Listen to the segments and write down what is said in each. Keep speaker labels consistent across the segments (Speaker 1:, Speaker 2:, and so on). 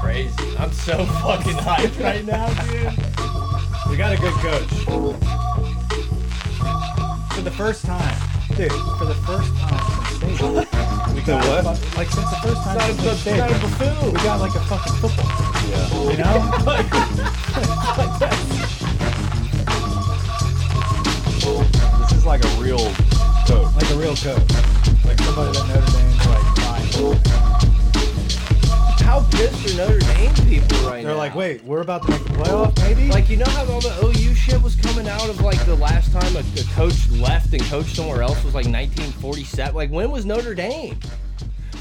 Speaker 1: crazy. I'm so fucking hyped right now, dude. We got a good coach. For the first time, dude. For the first time since state, we got
Speaker 2: what?
Speaker 1: a fuck- like since the first time
Speaker 2: Not a-
Speaker 1: since we stayed,
Speaker 2: not a
Speaker 1: we got like a fucking football. Yeah. You know?
Speaker 2: This is like a real coat.
Speaker 1: like a real coach, like somebody that Notre Dame's like. Fine.
Speaker 3: How pissed are Notre Dame people right now?
Speaker 1: They're like, wait, we're about to make the playoff, maybe?
Speaker 3: Like you know how all the OU shit was coming out of like the last time a, a coach left and coached somewhere else was like 1947. Like when was Notre Dame?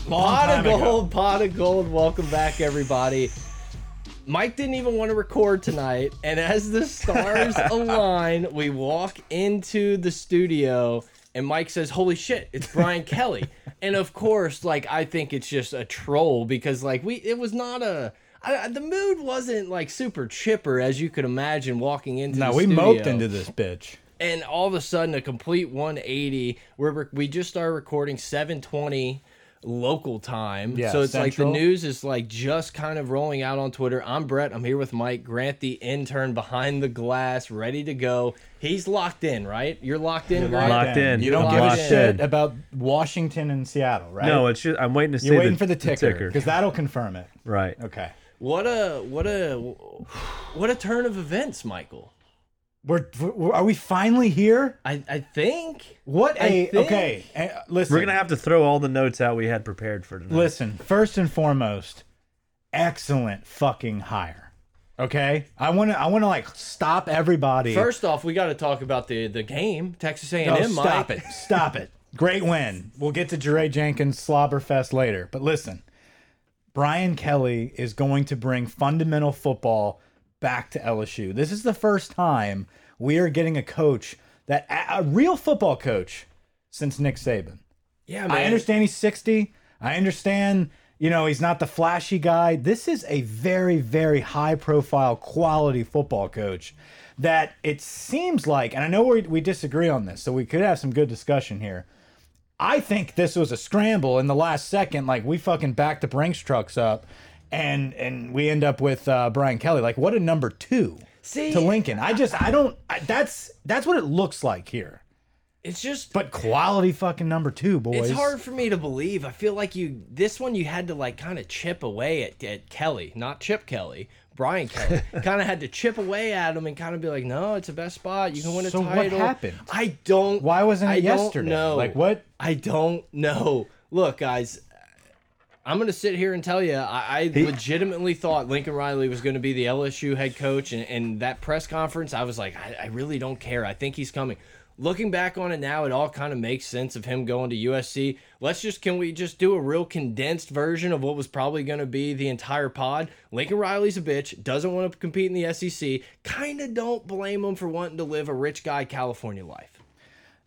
Speaker 3: Pot
Speaker 1: time
Speaker 3: of
Speaker 1: ago.
Speaker 3: gold, pot of gold. Welcome back, everybody. Mike didn't even want to record tonight, and as the stars align, we walk into the studio, and Mike says, "Holy shit, it's Brian Kelly!" And of course, like I think it's just a troll because like we, it was not a. I, I- the mood wasn't like super chipper as you could imagine walking into.
Speaker 1: no,
Speaker 3: the
Speaker 1: we
Speaker 3: studio
Speaker 1: moped into this bitch.
Speaker 3: and all of a sudden a complete 180 we're rec- we just started recording 720 local time
Speaker 1: Yeah,
Speaker 3: so it's
Speaker 1: Central.
Speaker 3: like the news is like just kind of rolling out on twitter i'm brett i'm here with mike grant the intern behind the glass ready to go he's locked in right you're locked in Grant?
Speaker 4: locked in.
Speaker 1: You don't
Speaker 4: I'm
Speaker 1: give a
Speaker 4: locked
Speaker 1: shit
Speaker 4: in.
Speaker 1: about Washington and Seattle, right?
Speaker 4: No, it's just I'm waiting to see.
Speaker 1: You're waiting
Speaker 4: the,
Speaker 1: for the ticker because that'll confirm it.
Speaker 4: Right.
Speaker 1: Okay.
Speaker 3: what a what a what a turn of events michael
Speaker 1: We're, we're are we finally here?
Speaker 3: i i think
Speaker 1: What
Speaker 3: I
Speaker 1: a
Speaker 3: think-
Speaker 1: okay. eh, listen,
Speaker 4: We're gonna have to throw all the notes out we had prepared for tonight.
Speaker 1: listen. First and foremost, excellent fucking hire. Okay, I want to I want to like stop everybody.
Speaker 3: first off we got to talk about the the game texas a&m
Speaker 1: Oh,
Speaker 3: Mike.
Speaker 1: stop it. Stop it. Great win. We'll get to Jeray Jenkins Slobberfest later. But listen, Brian Kelly is going to bring fundamental football back to LSU. This is the first time we are getting a coach that a a real football coach since Nick Saban.
Speaker 3: yeah man
Speaker 1: I understand he's 60. I understand, you know, he's not the flashy guy. This is a very, very high profile quality football coach that it seems like, and I know we, we disagree on this, so we could have some good discussion here. I think this was a scramble in the last second. Like we fucking backed the Brinks trucks up. And and we end up with uh, Brian Kelly. Like, what a number two
Speaker 3: See-
Speaker 1: to Lincoln. I just I don't. I, that's that's what it looks like here.
Speaker 3: it's just
Speaker 1: But quality fucking number two, boys.
Speaker 3: It's hard for me to believe. I feel like you this one you had to like kind of chip away at, at Kelly, not Chip Kelly, Brian Kelly. kind of had to chip away at him and kind of be like, no, it's the best spot. You can win a
Speaker 1: So what
Speaker 3: title.
Speaker 1: happened?
Speaker 3: I don't.
Speaker 1: Why wasn't it
Speaker 3: I
Speaker 1: yesterday?
Speaker 3: Don't know.
Speaker 1: Like what?
Speaker 3: I don't know. Look, guys. I'm gonna sit here and tell you, I, I legitimately thought Lincoln Riley was gonna be the LSU head coach, and, and that press conference, I was like, I, I really don't care. I think he's coming. Looking back on it now, it all kind of makes sense of him going to USC. Let's just can we just do a real condensed version of what was probably gonna be the entire pod? Lincoln Riley's a bitch, doesn't want to compete in the SEC. Kinda don't blame him for wanting to live a rich guy California life.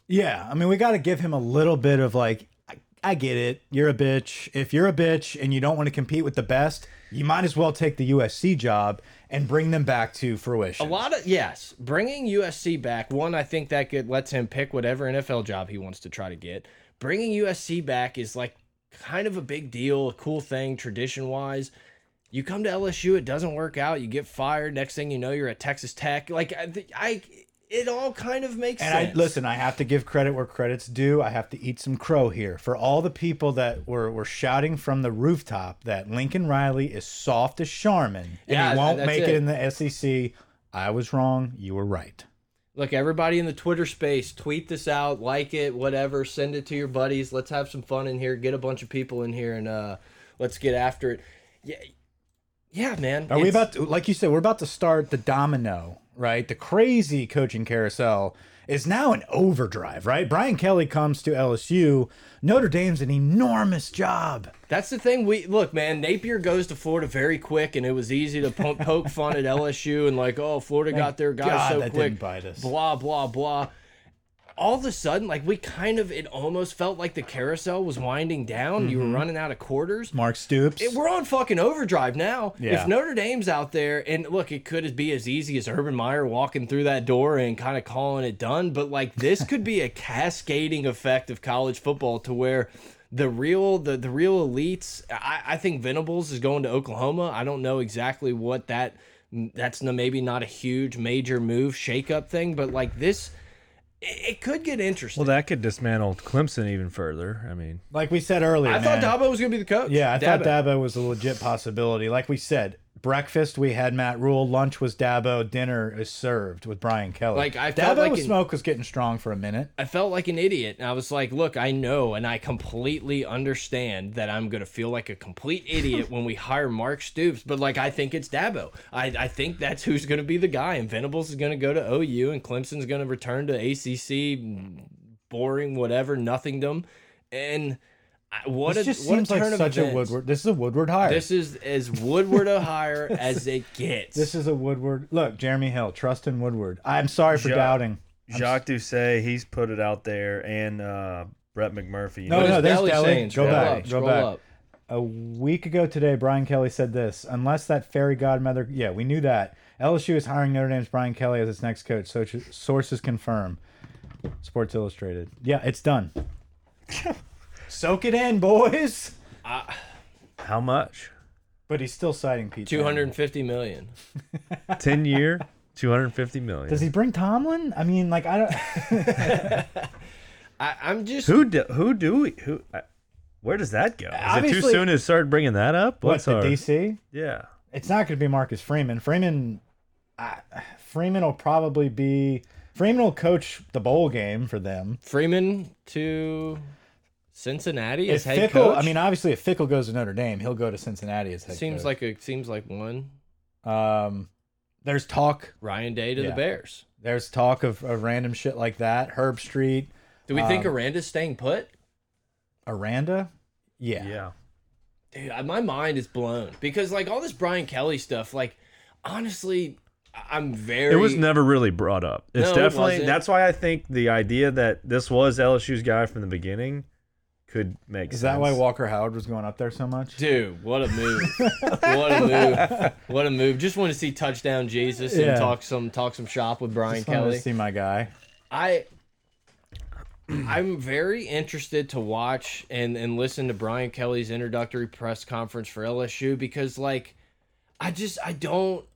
Speaker 1: Yeah, I mean, we got to give him a little bit of like, I, I get it. You're a bitch. If you're a bitch and you don't want to compete with the best, you might as well take the USC job and bring them back to fruition.
Speaker 3: A lot of yes, bringing USC back. One, I think that could lets him pick whatever NFL job he wants to try to get. Bringing USC back is like kind of a big deal, a cool thing tradition wise. You come to LSU, it doesn't work out, you get fired. Next thing you know, you're at Texas Tech. Like I, I it all kind of makes
Speaker 1: and I
Speaker 3: sense.
Speaker 1: listen, I have to give credit where credit's due. I have to eat some crow here for all the people that were were shouting from the rooftop that Lincoln Riley is soft as Charmin and
Speaker 3: Yeah,
Speaker 1: he won't
Speaker 3: that's
Speaker 1: make it
Speaker 3: it.
Speaker 1: in the SEC. I was wrong. You were right.
Speaker 3: Look, everybody in the Twitter space, tweet this out, like it, whatever, send it to your buddies. Let's have some fun in here. Get a bunch of people in here and uh let's get after it. Yeah. Yeah, man.
Speaker 1: Are we
Speaker 3: It's-
Speaker 1: about to, like you said, we're about to start the domino, right? The crazy coaching carousel is now an overdrive, right? Brian Kelly comes to LSU. Notre Dame's an enormous job.
Speaker 3: That's the thing. We look, man. Napier goes to Florida very quick, and it was easy to po poke fun at LSU and like, oh, Florida got their guys
Speaker 1: God
Speaker 3: so
Speaker 1: that
Speaker 3: quick.
Speaker 1: didn't bite us.
Speaker 3: Blah blah blah. All of a sudden, like we kind of, it almost felt like the carousel was winding down. You
Speaker 1: Mm-hmm.
Speaker 3: were running out of quarters.
Speaker 1: Mark Stoops.
Speaker 3: It- we're on fucking overdrive now.
Speaker 1: Yeah.
Speaker 3: If Notre Dame's out there, and look, it could be as easy as Urban Meyer walking through that door and kind of calling it done, but like this could be a cascading effect of college football to where the real the the real elites. I, I think Venables is going to Oklahoma. I don't know exactly what that that's no, maybe not a huge major move shakeup thing, but like this, it, it could get interesting.
Speaker 4: Well, that could dismantle Clemson even further. I mean,
Speaker 1: Like we said earlier,
Speaker 3: I thought
Speaker 1: man.
Speaker 3: Dabo was going to be the coach.
Speaker 1: Yeah, I
Speaker 3: Dabo.
Speaker 1: thought Dabo was a legit possibility. Like we said, breakfast we had Matt Rule, lunch was Dabo, dinner is served with Brian Kelly.
Speaker 3: Like, I
Speaker 1: Dabo
Speaker 3: felt like
Speaker 1: with
Speaker 3: in-
Speaker 1: smoke was getting strong for a minute.
Speaker 3: I felt like an idiot. And I was like, look, I know and I completely understand that I'm going to feel like a complete idiot when we hire Mark Stoops, but like, I think it's Dabo. I, I think that's who's going to be the guy. And Venables is going to go to OU and Clemson's going to return to ACC, boring, whatever, nothingdom. And I- what
Speaker 1: This
Speaker 3: a,
Speaker 1: just
Speaker 3: what
Speaker 1: seems
Speaker 3: a turn
Speaker 1: like
Speaker 3: of
Speaker 1: such a
Speaker 3: events.
Speaker 1: Woodward. This is a Woodward hire. This,
Speaker 3: This is as Woodward, Ohio as it gets.
Speaker 1: is a Woodward. Look, Jeremy Hill, trust in Woodward. I'm sorry for
Speaker 4: Ja-
Speaker 1: doubting.
Speaker 4: Jacques Doucet, he's put it out there, and uh, Brett McMurphy.
Speaker 1: No,
Speaker 3: What
Speaker 1: Oh, no,
Speaker 3: is
Speaker 1: there's
Speaker 3: Belly
Speaker 1: Belly.
Speaker 3: saying?
Speaker 1: Go
Speaker 3: Scroll
Speaker 1: back,
Speaker 3: up,
Speaker 1: go
Speaker 3: scroll
Speaker 1: back.
Speaker 3: up.
Speaker 1: A week ago today, Brian Kelly said this unless that fairy godmother, yeah, we knew that. LSU is hiring Notre Dame's Brian Kelly as its next coach. So sources confirm. Sports Illustrated. Yeah, it's done. Soak it in, boys.
Speaker 4: How much?
Speaker 1: But he's still citing Pete. Towner.
Speaker 3: 250 million.
Speaker 4: Ten year, two hundred fifty million.
Speaker 1: Does he bring Tomlin? I mean, like I don't.
Speaker 3: I, I'm just
Speaker 4: Who do, who do we who? I, where does that go? Is it too
Speaker 1: Obviously-
Speaker 4: soon to start bringing that up?
Speaker 1: What
Speaker 4: What's
Speaker 1: the
Speaker 4: our-
Speaker 1: DC?
Speaker 4: Yeah,
Speaker 1: It's not going to be Marcus Freeman. Freeman, I, Freeman will probably be. Freeman will coach the bowl game for them.
Speaker 3: Freeman to Cincinnati as
Speaker 1: If
Speaker 3: head
Speaker 1: Fickle,
Speaker 3: coach.
Speaker 1: I mean, obviously, if Fickle goes to Notre Dame, he'll go to Cincinnati as head
Speaker 3: seems
Speaker 1: coach.
Speaker 3: like a seems like one
Speaker 1: like um, there's talk.
Speaker 3: Ryan Day to
Speaker 1: Yeah.
Speaker 3: the Bears.
Speaker 1: There's talk of, of random shit like that. Herb Street,
Speaker 3: Do we think
Speaker 1: Um,
Speaker 3: Aranda's staying put?
Speaker 1: Aranda. Yeah.
Speaker 4: yeah.
Speaker 3: Dude, I- my mind is blown because like all this Brian Kelly stuff. Like honestly, I- I'm very.
Speaker 4: It was never really brought up. It's
Speaker 3: No, it
Speaker 4: definitely
Speaker 3: wasn't.
Speaker 4: that's why I think the idea that this was LSU's guy from the beginning could make sense.
Speaker 1: Is that why Walker Howard was going up there so much?
Speaker 3: Dude, what a move! what a move! What a move! Just want to see touchdown Jesus
Speaker 1: Yeah.
Speaker 3: and talk some talk some shop with Brian
Speaker 1: Just wanted
Speaker 3: Kelly.
Speaker 1: to see my guy.
Speaker 3: I I'm very interested to watch and and listen to Brian Kelly's introductory press conference for LSU because like I just I don't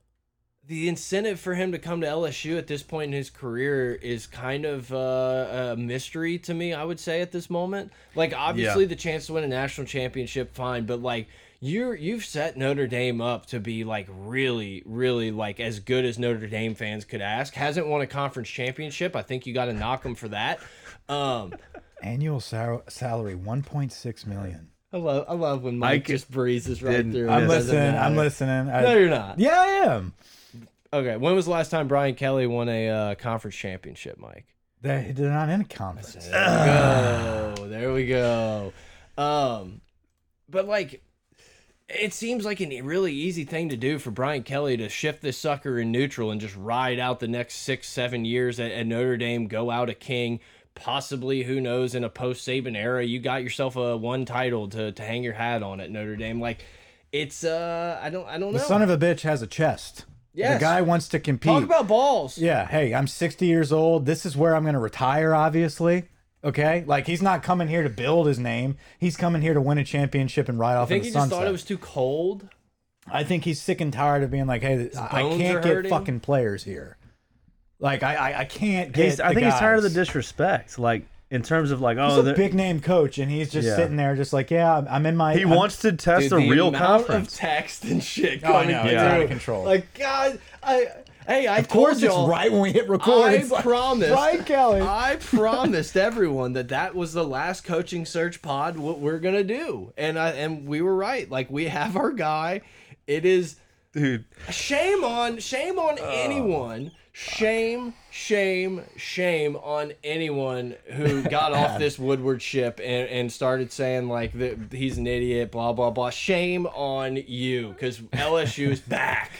Speaker 3: the incentive for him to come to LSU at this point in his career is kind of uh, a mystery to me. I would say at this moment, like obviously the chance to win a national championship, fine, but like you're you've set Notre Dame up to be like really, really like as good as Notre Dame fans could ask. Hasn't won a conference championship. I think you got to knock him for that. Um,
Speaker 1: Annual sal salary 1.6 million.
Speaker 3: I love I love when Mike just breezes right
Speaker 4: didn't-
Speaker 3: through. it.
Speaker 1: I'm
Speaker 3: It doesn't
Speaker 1: listening. I'm
Speaker 3: matter.
Speaker 1: listening. I,
Speaker 3: No, you're not.
Speaker 1: yeah, I am.
Speaker 3: Okay, when was the last time Brian Kelly won a uh, conference championship, Mike?
Speaker 1: They, they're not in a conference. Ah.
Speaker 3: go. Oh, There we go. Um, but like, it seems like a really easy thing to do for Brian Kelly to shift this sucker in neutral and just ride out the next six, seven years at, at Notre Dame, go out a king. Possibly, who knows? In a post Saban era, you got yourself a one title to to hang your hat on at Notre Dame. Like, it's uh, I don't, I don't know.
Speaker 1: The son of a bitch has a chest.
Speaker 3: Yes.
Speaker 1: The guy wants to compete.
Speaker 3: Talk about balls.
Speaker 1: yeah, hey, I'm 60 years old. This is where I'm going to retire, obviously. Okay? Like, he's not coming here to build his name. He's coming here to win a championship and ride
Speaker 3: I
Speaker 1: off in
Speaker 3: think
Speaker 1: the
Speaker 3: he just
Speaker 1: sunset.
Speaker 3: thought it was too cold.
Speaker 1: I think he's sick and tired of being like, hey, I I
Speaker 3: bones
Speaker 1: can't
Speaker 3: are
Speaker 1: get
Speaker 3: hurting.
Speaker 1: fucking players here. Like, I, I, I can't get.
Speaker 4: He's, I
Speaker 1: the
Speaker 4: think he's tired of the
Speaker 1: guys.
Speaker 4: disrespect. Like in terms of like
Speaker 1: He's
Speaker 4: oh
Speaker 1: a
Speaker 4: they're-
Speaker 1: big name coach, and he's just
Speaker 4: Yeah.
Speaker 1: sitting there, just like, yeah, I'm- I'm in my.
Speaker 4: he
Speaker 1: I'm-
Speaker 4: wants to test
Speaker 3: Dude,
Speaker 4: the, real
Speaker 3: amount
Speaker 4: conference.
Speaker 3: of text and shit
Speaker 1: Oh, I
Speaker 3: coming
Speaker 1: know,
Speaker 3: through.
Speaker 1: it's out of control.
Speaker 3: Like God, I hey, I
Speaker 1: Of course,
Speaker 3: told
Speaker 1: it's
Speaker 3: y'all.
Speaker 1: right when we hit record.
Speaker 3: I
Speaker 1: It's like,
Speaker 3: promised.
Speaker 1: Brian Kelly.
Speaker 3: I promised everyone that that was the last coaching search pod. What we're gonna do, and I and we were right. Like we have our guy. It is
Speaker 4: Dude,
Speaker 3: shame on shame on anyone. Shame, shame, shame on anyone who got off this Woodward ship and, and started saying like that he's an idiot, blah blah blah. Shame on you, because LSU is back.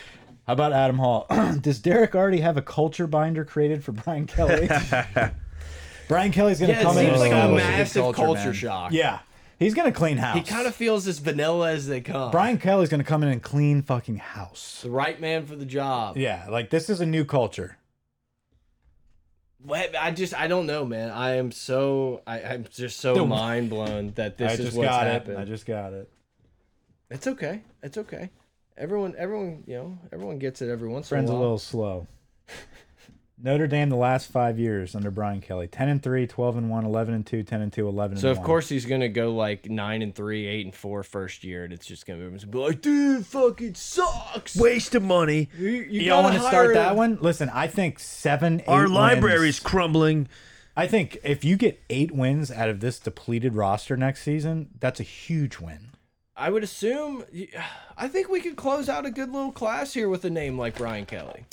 Speaker 1: How about Adam Hall? Does Derek already have a culture binder created for Brian Kelly? Brian Kelly's going to
Speaker 3: Yeah, it
Speaker 1: come in
Speaker 3: seems
Speaker 1: and
Speaker 3: like a
Speaker 1: establish good
Speaker 3: massive culture,
Speaker 1: man.
Speaker 3: shock.
Speaker 1: Yeah, he's going to clean house.
Speaker 3: he kind of feels as vanilla as they come.
Speaker 1: Brian Kelly's going to come in and clean fucking house.
Speaker 3: the right man for the job.
Speaker 1: Yeah, like this is a new culture.
Speaker 3: Well, I just I don't know, man. I am so I, I'm just so mind blown that this
Speaker 1: I
Speaker 3: is
Speaker 1: just
Speaker 3: what's
Speaker 1: got
Speaker 3: happened.
Speaker 1: it. I just got it.
Speaker 3: It's okay. It's okay. Everyone, everyone, you know, everyone gets it every once
Speaker 1: Friends
Speaker 3: in
Speaker 1: a
Speaker 3: a while.
Speaker 1: little slow. Notre Dame the last five years under Brian Kelly 10 and 3, 12 and 1, 11 and 2, 10 and 2, 11 and
Speaker 3: So
Speaker 1: 1.
Speaker 3: of course he's gonna go like nine and three, eight and four first year, and it's just gonna be like, dude, fucking sucks.
Speaker 4: Waste of money.
Speaker 3: you, you
Speaker 1: y'all want
Speaker 3: gotta
Speaker 1: to start
Speaker 3: hire
Speaker 1: that
Speaker 3: a-
Speaker 1: one? Listen, I think seven, eight
Speaker 4: Our
Speaker 1: wins-
Speaker 4: library's crumbling.
Speaker 1: I think if you get eight wins out of this depleted roster next season, that's a huge win.
Speaker 3: I would assume. I think we could close out a good little class here with a name like Brian Kelly.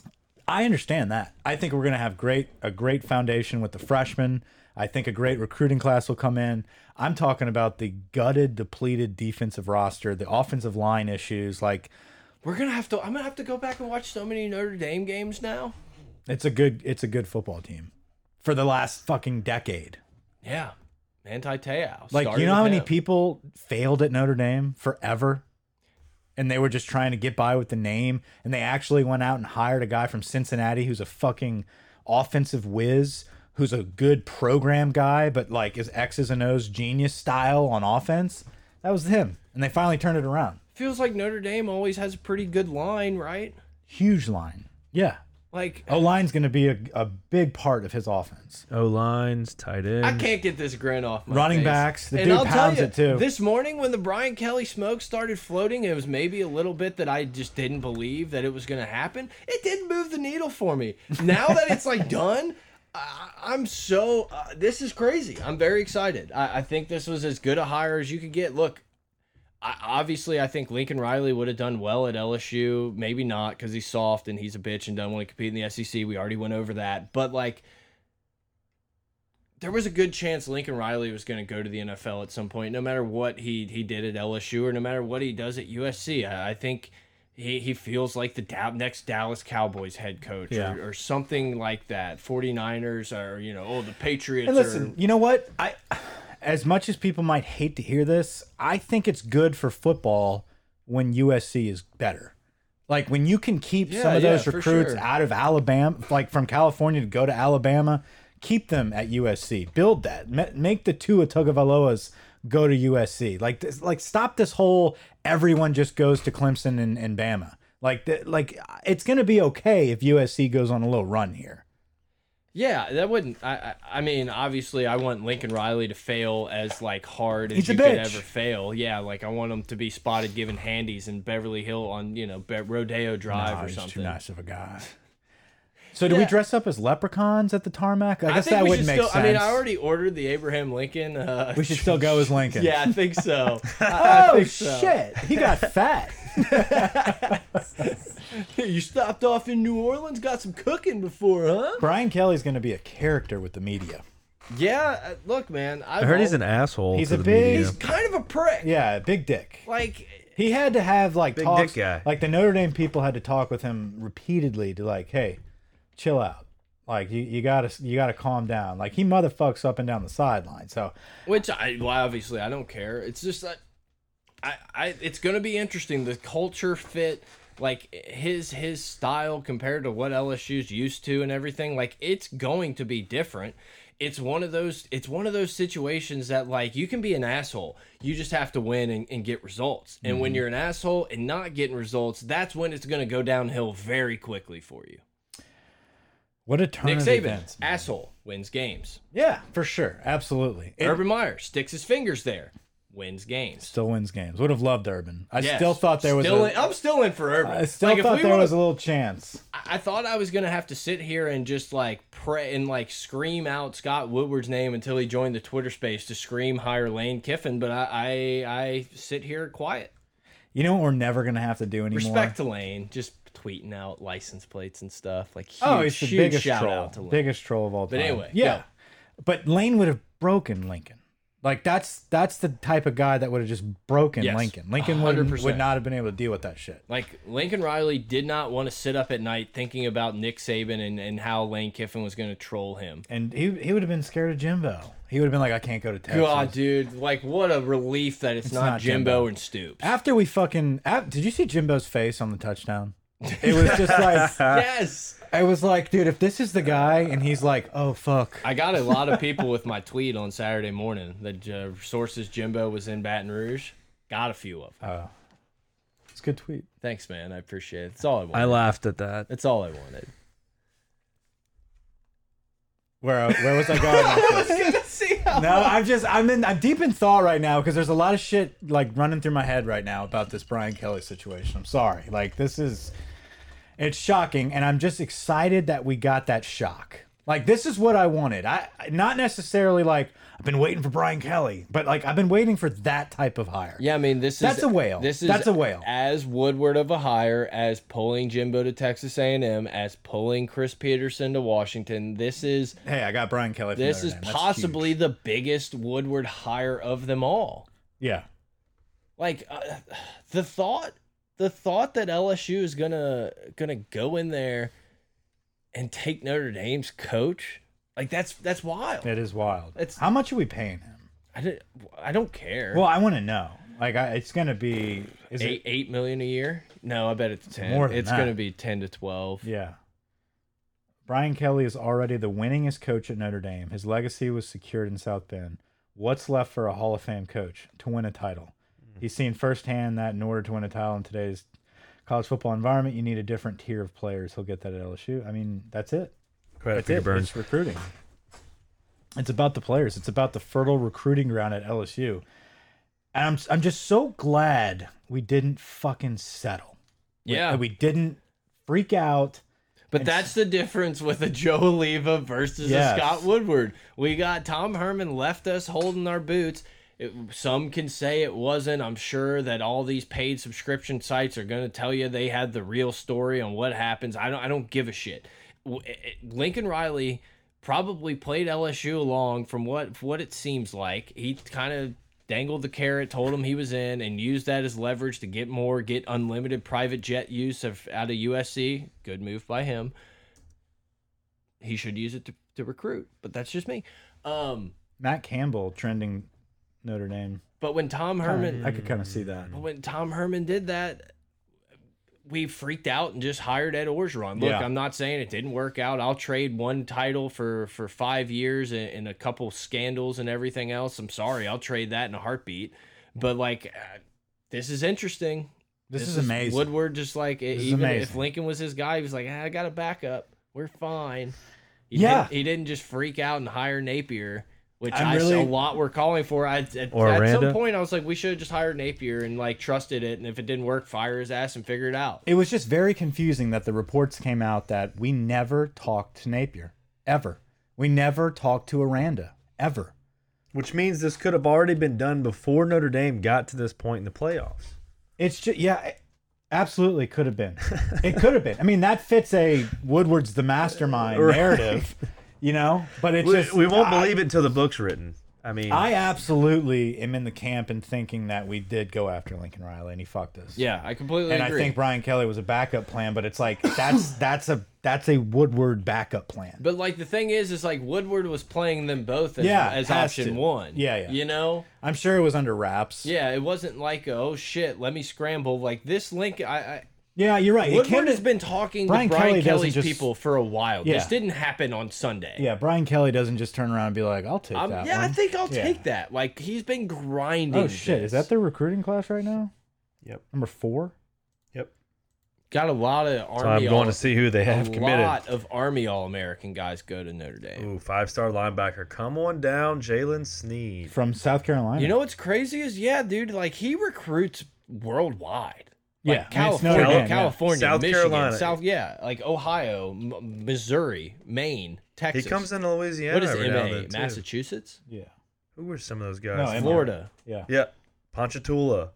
Speaker 1: I understand that. I think we're going to have great a great foundation with the freshmen. I think a great recruiting class will come in. I'm talking about the gutted, depleted defensive roster, the offensive line issues. Like
Speaker 3: We're gonna have to. I'm gonna have to go back and watch so many Notre Dame games now.
Speaker 1: it's a good it's a good football team for the last fucking decade.
Speaker 3: Yeah, Manti Te'o.
Speaker 1: Like
Speaker 3: Started
Speaker 1: you know how
Speaker 3: with
Speaker 1: many
Speaker 3: him.
Speaker 1: people failed at Notre Dame forever, and they were just trying to get by with the name, and they actually went out and hired a guy from Cincinnati who's a fucking offensive whiz, who's a good program guy, but like is X's and O's genius style on offense. That was him, and they finally turned it around.
Speaker 3: Feels like Notre Dame always has a pretty good line, right?
Speaker 1: Huge line, yeah.
Speaker 3: Like
Speaker 1: O line's going to be a, a big part of his offense.
Speaker 4: O lines, tight
Speaker 3: I
Speaker 4: end.
Speaker 3: can't get this grin off my
Speaker 1: Running
Speaker 3: face.
Speaker 1: backs, the dude pounds it too.
Speaker 3: This morning when the Brian Kelly smoke started floating, it was maybe a little bit that I just didn't believe that it was going to happen. It did move the needle for me. Now that it's like done, I, I'm so uh, this is crazy. I'm very excited. I, I think this was as good a hire as you could get. Look. I, obviously, I think Lincoln Riley would have done well at LSU. Maybe not because he's soft and he's a bitch and doesn't want to compete in the SEC. We already went over that. But like, there was a good chance Lincoln Riley was going to go to the NFL at some point, no matter what he he did at LSU or no matter what he does at USC. I, I think he, he feels like the Dow next Dallas Cowboys head coach
Speaker 1: Yeah.
Speaker 3: or, or something like that. 49ers or, you know, oh, the Patriots.
Speaker 1: And listen,
Speaker 3: or,
Speaker 1: you know what? I as much as people might hate to hear this, I think it's good for football when USC is better. Like when you can keep
Speaker 3: Yeah,
Speaker 1: some of
Speaker 3: yeah,
Speaker 1: those
Speaker 3: for
Speaker 1: recruits
Speaker 3: sure.
Speaker 1: out of Alabama, like from California to go to Alabama, keep them at USC. Build that. Ma- Make the two Atugavaloas go to USC. Like this, like stop this whole everyone just goes to Clemson and, and Bama. Like th- like it's going to be okay if USC goes on a little run here.
Speaker 3: Yeah, that wouldn't. I, I I mean, obviously, I want Lincoln Riley to fail as like hard as
Speaker 1: He's a
Speaker 3: you could
Speaker 1: bitch.
Speaker 3: ever fail. Yeah, like I want him to be spotted giving handies in Beverly Hill on you know Be Rodeo Drive
Speaker 1: Nah,
Speaker 3: or
Speaker 1: Oh, he's
Speaker 3: something.
Speaker 1: Too nice of a guy. So do we
Speaker 3: Yeah.
Speaker 1: dress up as leprechauns at the tarmac? I,
Speaker 3: I
Speaker 1: guess
Speaker 3: think
Speaker 1: that
Speaker 3: we
Speaker 1: wouldn't
Speaker 3: should
Speaker 1: make
Speaker 3: still.
Speaker 1: sense.
Speaker 3: I mean, I already ordered the Abraham Lincoln. Uh,
Speaker 1: we should still go as Lincoln.
Speaker 3: Yeah, I think so. I, I
Speaker 1: Oh
Speaker 3: think so.
Speaker 1: shit! He got fat.
Speaker 3: You stopped off in New Orleans, got some cooking before, huh?
Speaker 1: Brian Kelly's going to be a character with the media.
Speaker 3: Yeah. uh, Look, man. I've
Speaker 4: I heard
Speaker 3: al-
Speaker 4: he's an asshole.
Speaker 1: He's
Speaker 4: to
Speaker 1: a
Speaker 4: the
Speaker 1: big-
Speaker 4: media.
Speaker 3: He's kind of a prick.
Speaker 1: Yeah, big dick.
Speaker 3: Like.
Speaker 1: He had to have like
Speaker 4: Big
Speaker 1: talks.
Speaker 4: dick guy.
Speaker 1: Like the Notre Dame people had to talk with him repeatedly to like, hey, chill out. Like you, you gotta you gotta calm down. Like he motherfucks up and down the sideline. So
Speaker 3: Which I well, obviously I don't care. It's just that I, I it's gonna be interesting. The culture fit, like his his style compared to what LSU's used to and everything, like it's going to be different. It's one of those it's one of those situations that like you can be an asshole. You just have to win and, and get results. And when you're an asshole and not getting results, that's when it's gonna go downhill very quickly for you.
Speaker 1: what a turn
Speaker 3: Nick
Speaker 1: of
Speaker 3: Saban,
Speaker 1: events.
Speaker 3: asshole, wins games.
Speaker 1: Yeah, for sure, absolutely. It-
Speaker 3: Urban Meyer sticks his fingers there, wins games.
Speaker 1: still wins games. Would have loved Urban. I
Speaker 3: Yes.
Speaker 1: still thought there was.
Speaker 3: Still
Speaker 1: a,
Speaker 3: in, I'm still in for Urban.
Speaker 1: I still
Speaker 3: Like, if
Speaker 1: thought
Speaker 3: we
Speaker 1: there
Speaker 3: would've-
Speaker 1: was a little chance.
Speaker 3: I I thought I was gonna have to sit here and just like pray and like scream out Scott Woodward's name until he joined the Twitter space to scream hire Lane Kiffin, but I I, I sit here quiet.
Speaker 1: You know what we're never gonna have to do anymore.
Speaker 3: Respect to Lane, just tweeting out license plates and stuff. Like huge,
Speaker 1: oh, he's the
Speaker 3: huge
Speaker 1: biggest
Speaker 3: shout
Speaker 1: troll,
Speaker 3: out to Lane.
Speaker 1: biggest troll of all time.
Speaker 3: anyway,
Speaker 1: yeah.
Speaker 3: go.
Speaker 1: But Lane would have broken Lincoln. Like that's that's the type of guy that would have just broken
Speaker 3: Yes,
Speaker 1: Lincoln. Lincoln would
Speaker 3: 100%.
Speaker 1: would not have been able to deal with that shit.
Speaker 3: Like Lincoln Riley did not want to sit up at night thinking about Nick Saban and, and how Lane Kiffin was gonna troll him.
Speaker 1: And he he would have been scared of Jimbo. He would have been like, I can't go to Texas.
Speaker 3: God, dude, like what a relief that it's, not,
Speaker 1: not
Speaker 3: Jimbo,
Speaker 1: Jimbo.
Speaker 3: and Stoops.
Speaker 1: After we fucking, af- did you see Jimbo's face on the touchdown? It was just like
Speaker 3: yes.
Speaker 1: I was like, dude, if this is the guy, and he's like, oh fuck,
Speaker 3: I got a lot of people with my tweet on Saturday morning that uh, sources Jimbo was in Baton Rouge. Got a few of them.
Speaker 1: it's a good tweet.
Speaker 3: Thanks, man. I appreciate it. That's all I wanted.
Speaker 4: I laughed at that.
Speaker 3: That's all I wanted.
Speaker 1: Where uh, where was I going? with this?
Speaker 3: See how
Speaker 1: no, I'm just I'm in I'm deep in thought right now because there's a lot of shit like running through my head right now about this Brian Kelly situation. I'm sorry, like this is it's shocking, and I'm just excited that we got that shock. Like this is what I wanted. I not necessarily like I've been waiting for Brian Kelly, but like I've been waiting for that type of hire.
Speaker 3: Yeah, I mean this is
Speaker 1: That's a whale.
Speaker 3: This is
Speaker 1: That's a whale.
Speaker 3: As Woodward of a hire, as pulling Jimbo to Texas A and M, as pulling Chris Peterson to Washington. This is
Speaker 1: Hey, I got Brian Kelly. From
Speaker 3: this
Speaker 1: Notre
Speaker 3: is
Speaker 1: Dame. That's
Speaker 3: possibly
Speaker 1: huge.
Speaker 3: the biggest Woodward hire of them all.
Speaker 1: yeah.
Speaker 3: Like uh, the thought, the thought that LSU is gonna gonna go in there and take Notre Dame's coach. Like that's that's wild.
Speaker 1: It is wild.
Speaker 3: It's-
Speaker 1: how much are we paying him?
Speaker 3: I don't, I don't care.
Speaker 1: Well, I want to know. Like, I, it's gonna be is
Speaker 3: eight eight million a year? No, I bet it's ten.
Speaker 1: more than
Speaker 3: it's
Speaker 1: that.
Speaker 3: gonna be ten to twelve.
Speaker 1: It, yeah. Brian Kelly is already the winningest coach at Notre Dame. His legacy was secured in South Bend. What's left for a Hall of Fame coach to win a title?
Speaker 4: Mm.
Speaker 1: He's seen firsthand that in order to win a title in today's college football environment, you need a different tier of players. He'll get that at LSU. I mean, that's it.
Speaker 4: Credit
Speaker 1: That's
Speaker 4: for your
Speaker 1: it.
Speaker 4: burns.
Speaker 1: It's recruiting. It's about the players. It's about the fertile recruiting ground at LSU. And I'm I'm just so glad we didn't fucking settle.
Speaker 3: Yeah,
Speaker 1: That we didn't freak out.
Speaker 3: But that's the difference with a Joe Oliva versus
Speaker 1: Yes.
Speaker 3: a Scott Woodward. We got Tom Herman left us holding our boots. It, some can say it wasn't. I'm sure that all these paid subscription sites are going to tell you they had the real story on what happens. I don't. I don't give a shit. W- it- it- Lincoln Riley probably played LSU along from what what it seems like. He kind of dangled the carrot, told him he was in, and used that as leverage to get more, get unlimited private jet use of out of USC. Good move by him he should use it to, to recruit, but that's just me. Um,
Speaker 1: Matt Campbell trending Notre Dame.
Speaker 3: but when Tom Herman,
Speaker 1: I could kind of see that.
Speaker 4: Mm.
Speaker 3: but when Tom Herman did that, we freaked out and just hired Ed Orgeron. Look,
Speaker 1: Yeah.
Speaker 3: I'm not saying it didn't work out. I'll trade one title for for five years and, and a couple scandals and everything else. I'm sorry, I'll trade that in a heartbeat. But like, uh, this is interesting.
Speaker 1: This, is amazing.
Speaker 3: Woodward just like
Speaker 1: is
Speaker 3: even if
Speaker 1: amazing.
Speaker 3: Lincoln was his guy, he was like, "Ah, I got a backup. We're fine. He
Speaker 1: Yeah.
Speaker 3: didn't, he didn't just freak out and hire Napier, which
Speaker 1: I'm
Speaker 3: I
Speaker 1: really-
Speaker 3: a lot were calling for. I at,
Speaker 4: Or
Speaker 3: at some
Speaker 4: Aranda.
Speaker 3: point I was like, we should have just hired Napier and like trusted it, and if it didn't work, fire his ass and figure it out.
Speaker 1: It was just very confusing that the reports came out that we never talked to Napier ever. We never talked to Aranda ever.
Speaker 4: Which means this could have already been done before Notre Dame got to this point in the playoffs.
Speaker 1: It's just yeah, it absolutely could have been. It could have been. I mean, that fits a Woodward's the mastermind
Speaker 4: Right.
Speaker 1: narrative, you know. But it's
Speaker 4: We,
Speaker 1: just
Speaker 4: we won't
Speaker 1: I-
Speaker 4: believe it until the book's written. I mean,
Speaker 1: I absolutely am in the camp and thinking that we did go after Lincoln Riley and he fucked us.
Speaker 3: Yeah, I completely
Speaker 1: and I
Speaker 3: agree.
Speaker 1: think Brian Kelly was a backup plan, but it's like that's that's a that's a Woodward backup plan.
Speaker 3: but like the thing is, is like Woodward was playing them both as,
Speaker 1: Yeah,
Speaker 3: as
Speaker 1: has
Speaker 3: option
Speaker 1: to.
Speaker 3: one.
Speaker 1: Yeah, yeah.
Speaker 3: You know,
Speaker 1: I'm sure it was under wraps.
Speaker 3: yeah, it wasn't like oh shit, let me scramble. Like this Lincoln, I, I
Speaker 1: yeah, you're right. It
Speaker 3: Woodward
Speaker 1: can't-
Speaker 3: has been talking
Speaker 1: Brian
Speaker 3: to Brian
Speaker 1: Kelly doesn't
Speaker 3: Kelly's
Speaker 1: just-
Speaker 3: people for a while. This
Speaker 1: Yeah.
Speaker 3: didn't happen on Sunday.
Speaker 1: yeah, Brian Kelly doesn't just turn around and be like, "I'll take
Speaker 3: I'm-
Speaker 1: that."
Speaker 3: Um, yeah, I
Speaker 1: one."
Speaker 3: think I'll
Speaker 1: Yeah.
Speaker 3: take that. Like he's been grinding.
Speaker 1: Oh shit!
Speaker 3: this.
Speaker 1: Is that their recruiting class right now?
Speaker 4: Yep.
Speaker 1: Number four.
Speaker 4: yep.
Speaker 3: got a lot of
Speaker 4: So I'm
Speaker 3: army? all,
Speaker 4: going to see who they have
Speaker 3: a
Speaker 4: committed.
Speaker 3: lot of army all American guys go to Notre Dame.
Speaker 4: Ooh, five star linebacker. Come on down, Jalen Sneed.
Speaker 1: from South Carolina.
Speaker 3: You know what's crazy is yeah, dude. Like he recruits worldwide.
Speaker 1: yeah,
Speaker 3: Like,
Speaker 1: I mean, it's
Speaker 3: California,
Speaker 1: Notre Dame, yeah.
Speaker 3: California,
Speaker 4: South
Speaker 3: Michigan,
Speaker 4: Carolina.
Speaker 3: South yeah, like Ohio, M Missouri, Maine,
Speaker 4: He
Speaker 3: Texas.
Speaker 4: comes into Louisiana
Speaker 3: What is
Speaker 4: every now and then,
Speaker 3: MA?
Speaker 4: too.
Speaker 3: Massachusetts,
Speaker 1: Yeah,
Speaker 4: Who were some of those
Speaker 1: No, MA.
Speaker 4: guys?
Speaker 3: Florida.
Speaker 1: yeah.
Speaker 4: yeah, Ponchatoula.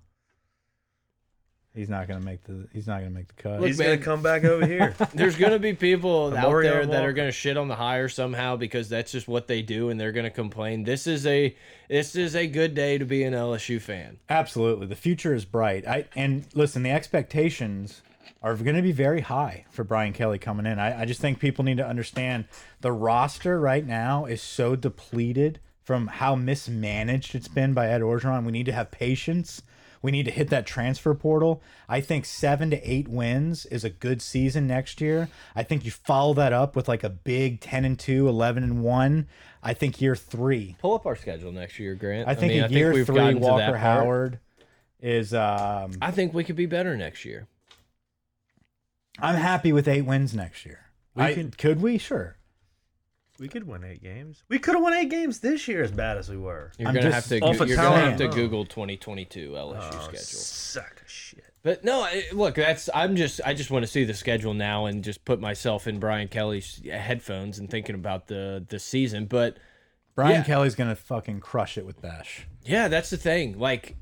Speaker 1: He's not gonna make the. He's not gonna make the cut.
Speaker 3: Look,
Speaker 4: He's
Speaker 3: man.
Speaker 4: gonna come back over here.
Speaker 3: There's gonna be people out
Speaker 4: Mario
Speaker 3: there that are
Speaker 4: Walker.
Speaker 3: gonna shit on the hire somehow because that's just what they do, and they're gonna complain. This is a this is a good day to be an LSU fan.
Speaker 1: Absolutely, the future is bright. I and listen, the expectations are going to be very high for Brian Kelly coming in. I, I just think people need to understand the roster right now is so depleted from how mismanaged it's been by Ed Orgeron. We need to have patience. We need to hit that transfer portal. I think seven to eight wins is a good season next year. I think you follow that up with like a big 10 and 2, 11 and 1. I think year three.
Speaker 3: Pull up our schedule next year, Grant.
Speaker 1: I think
Speaker 3: mean,
Speaker 1: a year
Speaker 3: we've
Speaker 1: three
Speaker 3: gotten to that
Speaker 1: Walker
Speaker 3: part.
Speaker 1: Howard is. Um,
Speaker 3: I think we could be better next year.
Speaker 1: I'm happy with eight wins next year.
Speaker 4: We
Speaker 1: I-
Speaker 4: can-
Speaker 1: could we? Sure.
Speaker 4: We could win eight games. We could have won eight games this year as bad as we were.
Speaker 3: You're
Speaker 1: I'm
Speaker 3: gonna have
Speaker 1: just
Speaker 3: to.
Speaker 4: off
Speaker 3: Go,
Speaker 4: of
Speaker 3: you're gonna have
Speaker 1: talent.
Speaker 3: to Google 2022 LSU
Speaker 4: Oh,
Speaker 3: schedule.
Speaker 4: Suck of shit.
Speaker 3: But no, I, look, that's I'm just I just want to see the schedule now and just put myself in Brian Kelly's headphones and thinking about the the season. But
Speaker 1: Brian
Speaker 3: Yeah.
Speaker 1: Kelly's gonna fucking crush it with Bash.
Speaker 3: yeah, that's the thing. Like,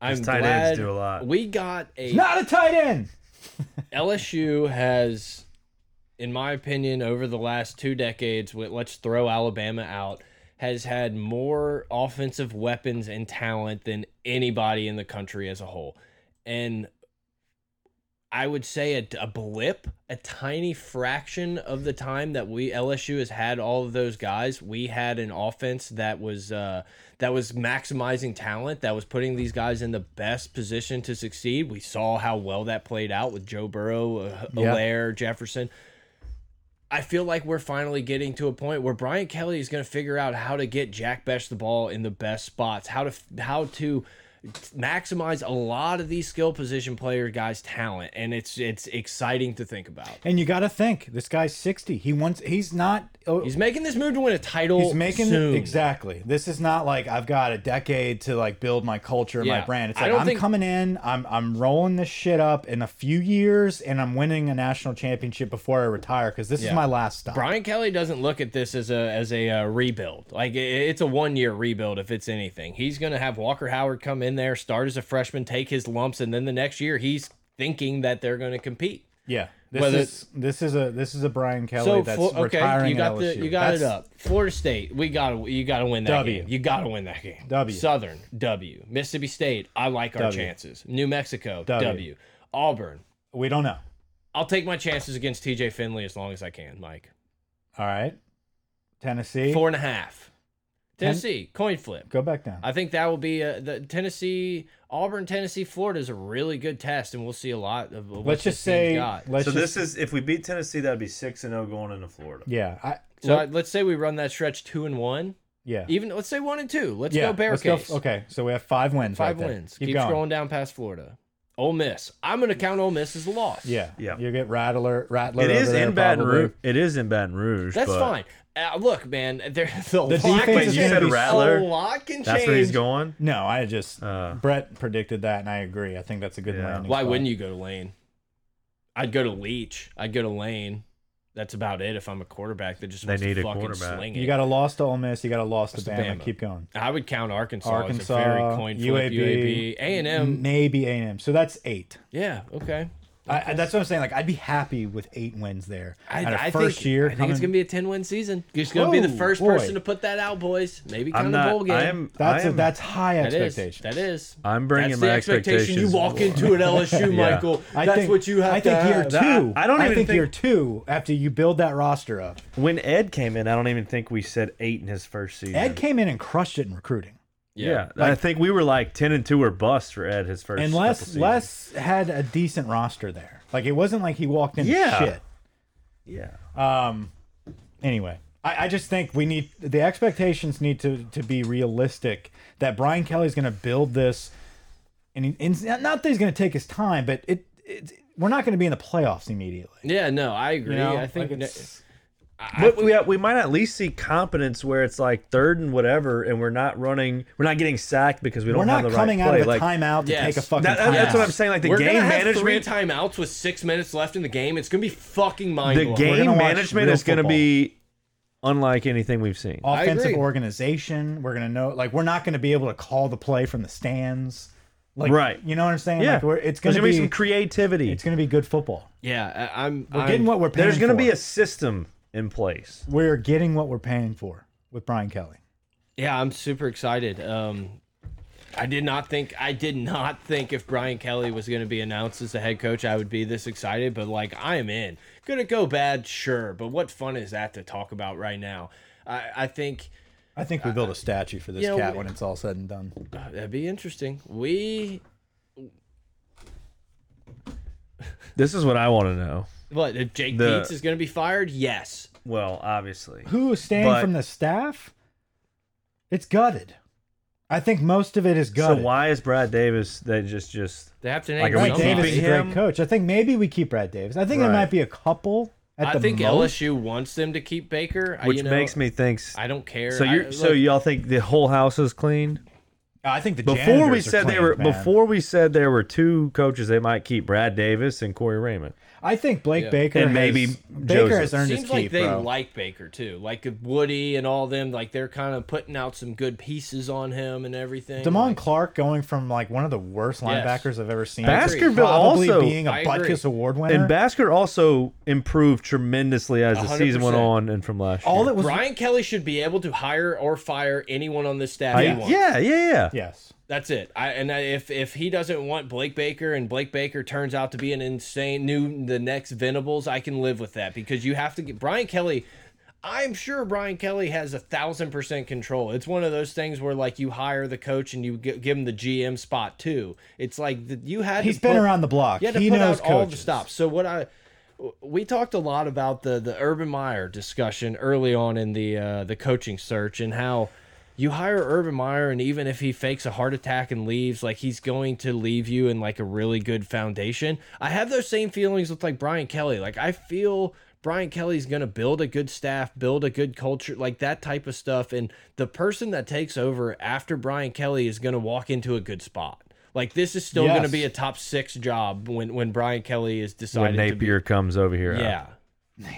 Speaker 3: I'm
Speaker 4: tight
Speaker 3: glad
Speaker 4: ends do a lot.
Speaker 3: we got a
Speaker 1: Not a tight end.
Speaker 3: LSU has, in my opinion, over the last two decades, with let's throw Alabama out, has had more offensive weapons and talent than anybody in the country as a whole. And I would say a, a blip, a tiny fraction of the time that we LSU has had all of those guys, we had an offense that was uh, that was maximizing talent, that was putting these guys in the best position to succeed. We saw how well that played out with Joe Burrow, uh,
Speaker 1: Yeah.
Speaker 3: Allaire, Jefferson. I feel like we're finally getting to a point where Brian Kelly is going to figure out how to get Jack Besh the ball in the best spots, how to how to maximize a lot of these skill position player guys' talent, and it's it's exciting to think about.
Speaker 1: And you gotta think, this guy's sixty. He wants he's not oh,
Speaker 3: He's making this move to win a title.
Speaker 1: he's making
Speaker 3: soon.
Speaker 1: exactly. This is not like I've got a decade to like build my culture and
Speaker 3: Yeah.
Speaker 1: my brand. It's
Speaker 3: I
Speaker 1: like
Speaker 3: don't
Speaker 1: I'm
Speaker 3: think-
Speaker 1: coming in, I'm I'm rolling this shit up in a few years and I'm winning a national championship before I retire because this
Speaker 3: Yeah.
Speaker 1: is my last stop.
Speaker 3: Brian Kelly doesn't look at this as a as a uh, rebuild. Like i- it's a one year rebuild if it's anything. He's going to have Walker Howard come in there, start as a freshman, take his lumps, and then the next year he's thinking that they're going to compete.
Speaker 1: yeah. This
Speaker 3: Whether
Speaker 1: is this is a this is a Brian Kelly
Speaker 3: So
Speaker 1: that's
Speaker 3: Flo- okay,
Speaker 1: retiring
Speaker 3: you got
Speaker 1: at
Speaker 3: the
Speaker 1: LSU.
Speaker 3: you got it
Speaker 1: That's-
Speaker 3: up. Florida State, we got to you got to win that
Speaker 1: W.
Speaker 3: game. You got to win that game.
Speaker 1: W.
Speaker 3: Southern W. Mississippi State, I like our
Speaker 1: W.
Speaker 3: chances. New Mexico W.
Speaker 1: W.
Speaker 3: Auburn,
Speaker 1: We don't know.
Speaker 3: I'll take my chances against T.J. Finley as long as I can, Mike.
Speaker 1: All right. Tennessee.
Speaker 3: Four and a half. Tennessee coin flip.
Speaker 1: Go back down.
Speaker 3: I think that will be uh the Tennessee Auburn Tennessee Florida is a really good test, and we'll see a lot of. What
Speaker 1: let's just
Speaker 3: this team's
Speaker 1: say
Speaker 3: got.
Speaker 1: let's
Speaker 4: so
Speaker 1: just,
Speaker 4: this is if we beat Tennessee, that'd be six and zero going into Florida.
Speaker 1: yeah. I
Speaker 3: So I- let's say we run that stretch two and one.
Speaker 1: yeah.
Speaker 3: Even let's say one and two. Let's
Speaker 1: yeah,
Speaker 3: go bear
Speaker 1: let's
Speaker 3: case.
Speaker 1: okay, so we have five wins.
Speaker 3: Five
Speaker 1: right there.
Speaker 3: wins.
Speaker 1: Keep,
Speaker 3: Keep,
Speaker 1: going.
Speaker 3: scrolling down past Florida. Ole Miss. I'm going to count Ole Miss as a loss.
Speaker 1: Yeah,
Speaker 4: Yeah.
Speaker 1: You get rattler, rattler.
Speaker 4: It
Speaker 1: over
Speaker 4: is
Speaker 1: there
Speaker 4: in Baton
Speaker 1: probably.
Speaker 4: Rouge. It is in Baton Rouge.
Speaker 3: That's
Speaker 4: but
Speaker 3: fine. Uh, look, man, there, the, lot can
Speaker 1: defense is
Speaker 3: change.
Speaker 1: gonna be- You said
Speaker 4: Rattler?
Speaker 3: A lot can change.
Speaker 4: That's where he's going.
Speaker 1: No, I just
Speaker 4: Uh.
Speaker 1: Brett predicted that, and I agree. I think that's a good
Speaker 4: Yeah.
Speaker 1: landing.
Speaker 3: Why wouldn't you go to Lane? I'd go to Leach. I'd go to Lane. That's about it if I'm a quarterback that just
Speaker 4: They
Speaker 3: wants
Speaker 4: need
Speaker 3: to
Speaker 4: a
Speaker 3: fucking
Speaker 4: quarterback.
Speaker 3: sling it.
Speaker 1: You got a loss to Ole Miss. You got a loss to
Speaker 3: That's
Speaker 1: Bama.
Speaker 3: Bama.
Speaker 1: Keep going.
Speaker 3: I would count Arkansas, as a
Speaker 1: Arkansas,
Speaker 3: very coin flip.
Speaker 1: UAB,
Speaker 3: UAB, A&M.
Speaker 1: maybe A and M. So that's eight.
Speaker 3: Yeah, okay.
Speaker 1: I, I- that's what I'm saying. Like I'd be happy with eight wins there.
Speaker 3: I,
Speaker 1: And a
Speaker 3: I
Speaker 1: first
Speaker 3: think,
Speaker 1: year.
Speaker 3: I think it's going
Speaker 1: coming-
Speaker 3: to be a 10 win season. You're just going to be the
Speaker 1: Whoa,
Speaker 3: first
Speaker 1: boy.
Speaker 3: person to put that out, boys. Maybe
Speaker 4: I'm
Speaker 3: count a bowl
Speaker 4: not.
Speaker 3: game.
Speaker 4: I am.
Speaker 1: That's
Speaker 4: I
Speaker 1: a,
Speaker 4: am,
Speaker 1: that's high
Speaker 3: That is.
Speaker 1: expectations.
Speaker 3: That is.
Speaker 4: I'm bringing
Speaker 3: That's
Speaker 4: my
Speaker 3: the expectation you
Speaker 4: expectations
Speaker 3: walk into at LSU,
Speaker 4: Yeah.
Speaker 3: Michael.
Speaker 1: I
Speaker 3: That's
Speaker 1: think-
Speaker 3: what you have
Speaker 1: I think
Speaker 3: to
Speaker 1: year
Speaker 3: have.
Speaker 1: two.
Speaker 4: I- I don't even
Speaker 1: think,
Speaker 4: think-
Speaker 1: year two after you build that roster up.
Speaker 4: When Ed came in, I don't even think we said eight in his first season.
Speaker 1: Ed came in and crushed it in recruiting.
Speaker 4: yeah, I think we were like ten and two or bust for Ed his first.
Speaker 1: And
Speaker 4: couple
Speaker 1: Les
Speaker 4: seasons.
Speaker 1: Les had a decent roster there. Like it wasn't like he walked into
Speaker 4: Yeah.
Speaker 1: shit.
Speaker 4: Yeah.
Speaker 1: Um. Anyway, I, I just think we need the expectations need to to be realistic. That Brian Kelly's going to build this, and, he, and it's not not that he's going to take his time, but it, it we're not going to be in the playoffs immediately.
Speaker 3: Yeah, no, I agree.
Speaker 1: You know?
Speaker 3: I think
Speaker 1: Like,
Speaker 3: ne-
Speaker 1: it's-
Speaker 4: But we, we might at least see competence where it's like third and whatever, and we're not running, we're not getting sacked because we don't
Speaker 1: we're
Speaker 4: have
Speaker 1: not
Speaker 4: the right
Speaker 1: coming out
Speaker 4: play.
Speaker 1: of a
Speaker 4: like,
Speaker 1: timeout to
Speaker 3: Yes.
Speaker 1: take a fucking.
Speaker 4: that- that- that's
Speaker 1: timeout.
Speaker 4: what I'm saying. Like the
Speaker 3: we're gonna
Speaker 4: game
Speaker 3: have three
Speaker 4: management,
Speaker 3: timeouts with six minutes left in the game. It's gonna be fucking mind
Speaker 4: the
Speaker 3: blowing.
Speaker 1: gonna
Speaker 4: game
Speaker 1: watch
Speaker 4: management
Speaker 1: real Oh,
Speaker 4: is going to be unlike anything we've seen.
Speaker 1: Offensive
Speaker 3: agree.
Speaker 1: organization. We're going to know. Like we're not going to be able to call the play from the stands. Like
Speaker 4: Right.
Speaker 1: You know what I'm saying?
Speaker 4: yeah,
Speaker 1: Like, we're, it's
Speaker 4: there's
Speaker 1: going to be.
Speaker 4: some creativity.
Speaker 1: it's going to be good football.
Speaker 3: Yeah, I, I'm.
Speaker 1: We're
Speaker 3: I'm-
Speaker 1: getting what we're paying.
Speaker 4: there's going to
Speaker 1: for.
Speaker 4: be a system in place.
Speaker 1: We're getting what we're paying for with Brian Kelly.
Speaker 3: Yeah, I'm super excited. Um, I did not think. I did not think if Brian Kelly was gonna be announced as the head coach, I would be this excited. But like, I am in. Gonna go bad, sure. But what fun is that to talk about right now? I, I think
Speaker 1: I think we build a statue for this
Speaker 3: you know,
Speaker 1: cat
Speaker 3: we-
Speaker 1: when it's all said and done.
Speaker 3: That'd be interesting. We
Speaker 4: This is what I want to know.
Speaker 3: what? If Jake
Speaker 4: The-
Speaker 3: Dietz is going to be fired? Yes.
Speaker 4: Well, obviously.
Speaker 1: Who is staying
Speaker 4: But-
Speaker 1: from the staff? It's gutted. I think most of it is
Speaker 4: So
Speaker 1: gutted.
Speaker 4: why is Brad Davis they just just
Speaker 3: They have to
Speaker 4: Like,
Speaker 3: name
Speaker 4: are we
Speaker 1: Brad
Speaker 3: somebody.
Speaker 1: Davis is a great
Speaker 4: him?
Speaker 1: coach. I think maybe we keep Brad Davis. I think there
Speaker 4: Right.
Speaker 1: might be a couple at
Speaker 3: I
Speaker 1: the
Speaker 3: think
Speaker 1: most.
Speaker 3: LSU wants them to keep Baker. I,
Speaker 4: which
Speaker 3: you know,
Speaker 4: makes me think
Speaker 3: I don't care.
Speaker 4: So you
Speaker 3: I,
Speaker 4: are so
Speaker 3: look,
Speaker 4: y'all think the whole house is clean?
Speaker 1: I think the
Speaker 4: Before we
Speaker 1: janitors are
Speaker 4: said they
Speaker 1: clean,
Speaker 4: were
Speaker 1: man.
Speaker 4: before we said there were two coaches they might keep, Brad Davis and Corey Raymond.
Speaker 1: I think Blake
Speaker 3: Yeah.
Speaker 1: Baker
Speaker 4: And maybe
Speaker 1: has, Baker
Speaker 4: Joseph.
Speaker 1: has earned his
Speaker 3: seems
Speaker 1: keep,
Speaker 3: like they
Speaker 1: bro.
Speaker 3: like Baker too. Like Woody and all them. Like they're kind of putting out some good pieces on him and everything.
Speaker 1: Damon
Speaker 3: Like,
Speaker 1: Clark going from like one of the worst linebackers I've ever seen.
Speaker 4: Baskerville
Speaker 1: probably
Speaker 4: also-
Speaker 1: being a
Speaker 3: I agree.
Speaker 1: Butkus Award winner.
Speaker 4: And Basker also improved tremendously as the season went
Speaker 3: 100%.
Speaker 4: on and from last
Speaker 1: all
Speaker 4: year.
Speaker 1: that was
Speaker 3: Brian Kelly should be able to hire or fire anyone on this staff he wants.
Speaker 4: yeah, yeah, yeah.
Speaker 1: yes.
Speaker 3: That's it. I and I, if if he doesn't want Blake Baker and Blake Baker turns out to be an insane new the next Venables, I can live with that because you have to get Brian Kelly. I'm sure Brian Kelly has a thousand percent control. It's one of those things where like you hire the coach and you gi- give him the GM spot too. It's like the, you had
Speaker 1: He's
Speaker 3: to put-
Speaker 1: been around the block.
Speaker 3: you had to
Speaker 1: he
Speaker 3: put
Speaker 1: knows
Speaker 3: out all the
Speaker 1: coaches.
Speaker 3: stops. So what I we talked a lot about the the Urban Meyer discussion early on in the uh, the coaching search and how you hire Urban Meyer and even if he fakes a heart attack and leaves, like he's going to leave you in like a really good foundation. I have those same feelings with like Brian Kelly. Like I feel Brian Kelly's going to build a good staff, build a good culture, like that type of stuff and the person that takes over after Brian Kelly is going to walk into a good spot. Like this is still going to
Speaker 1: Yes.
Speaker 3: be a top six job when when Brian Kelly is decided
Speaker 4: When Napier comes over here.
Speaker 3: to be. Yeah.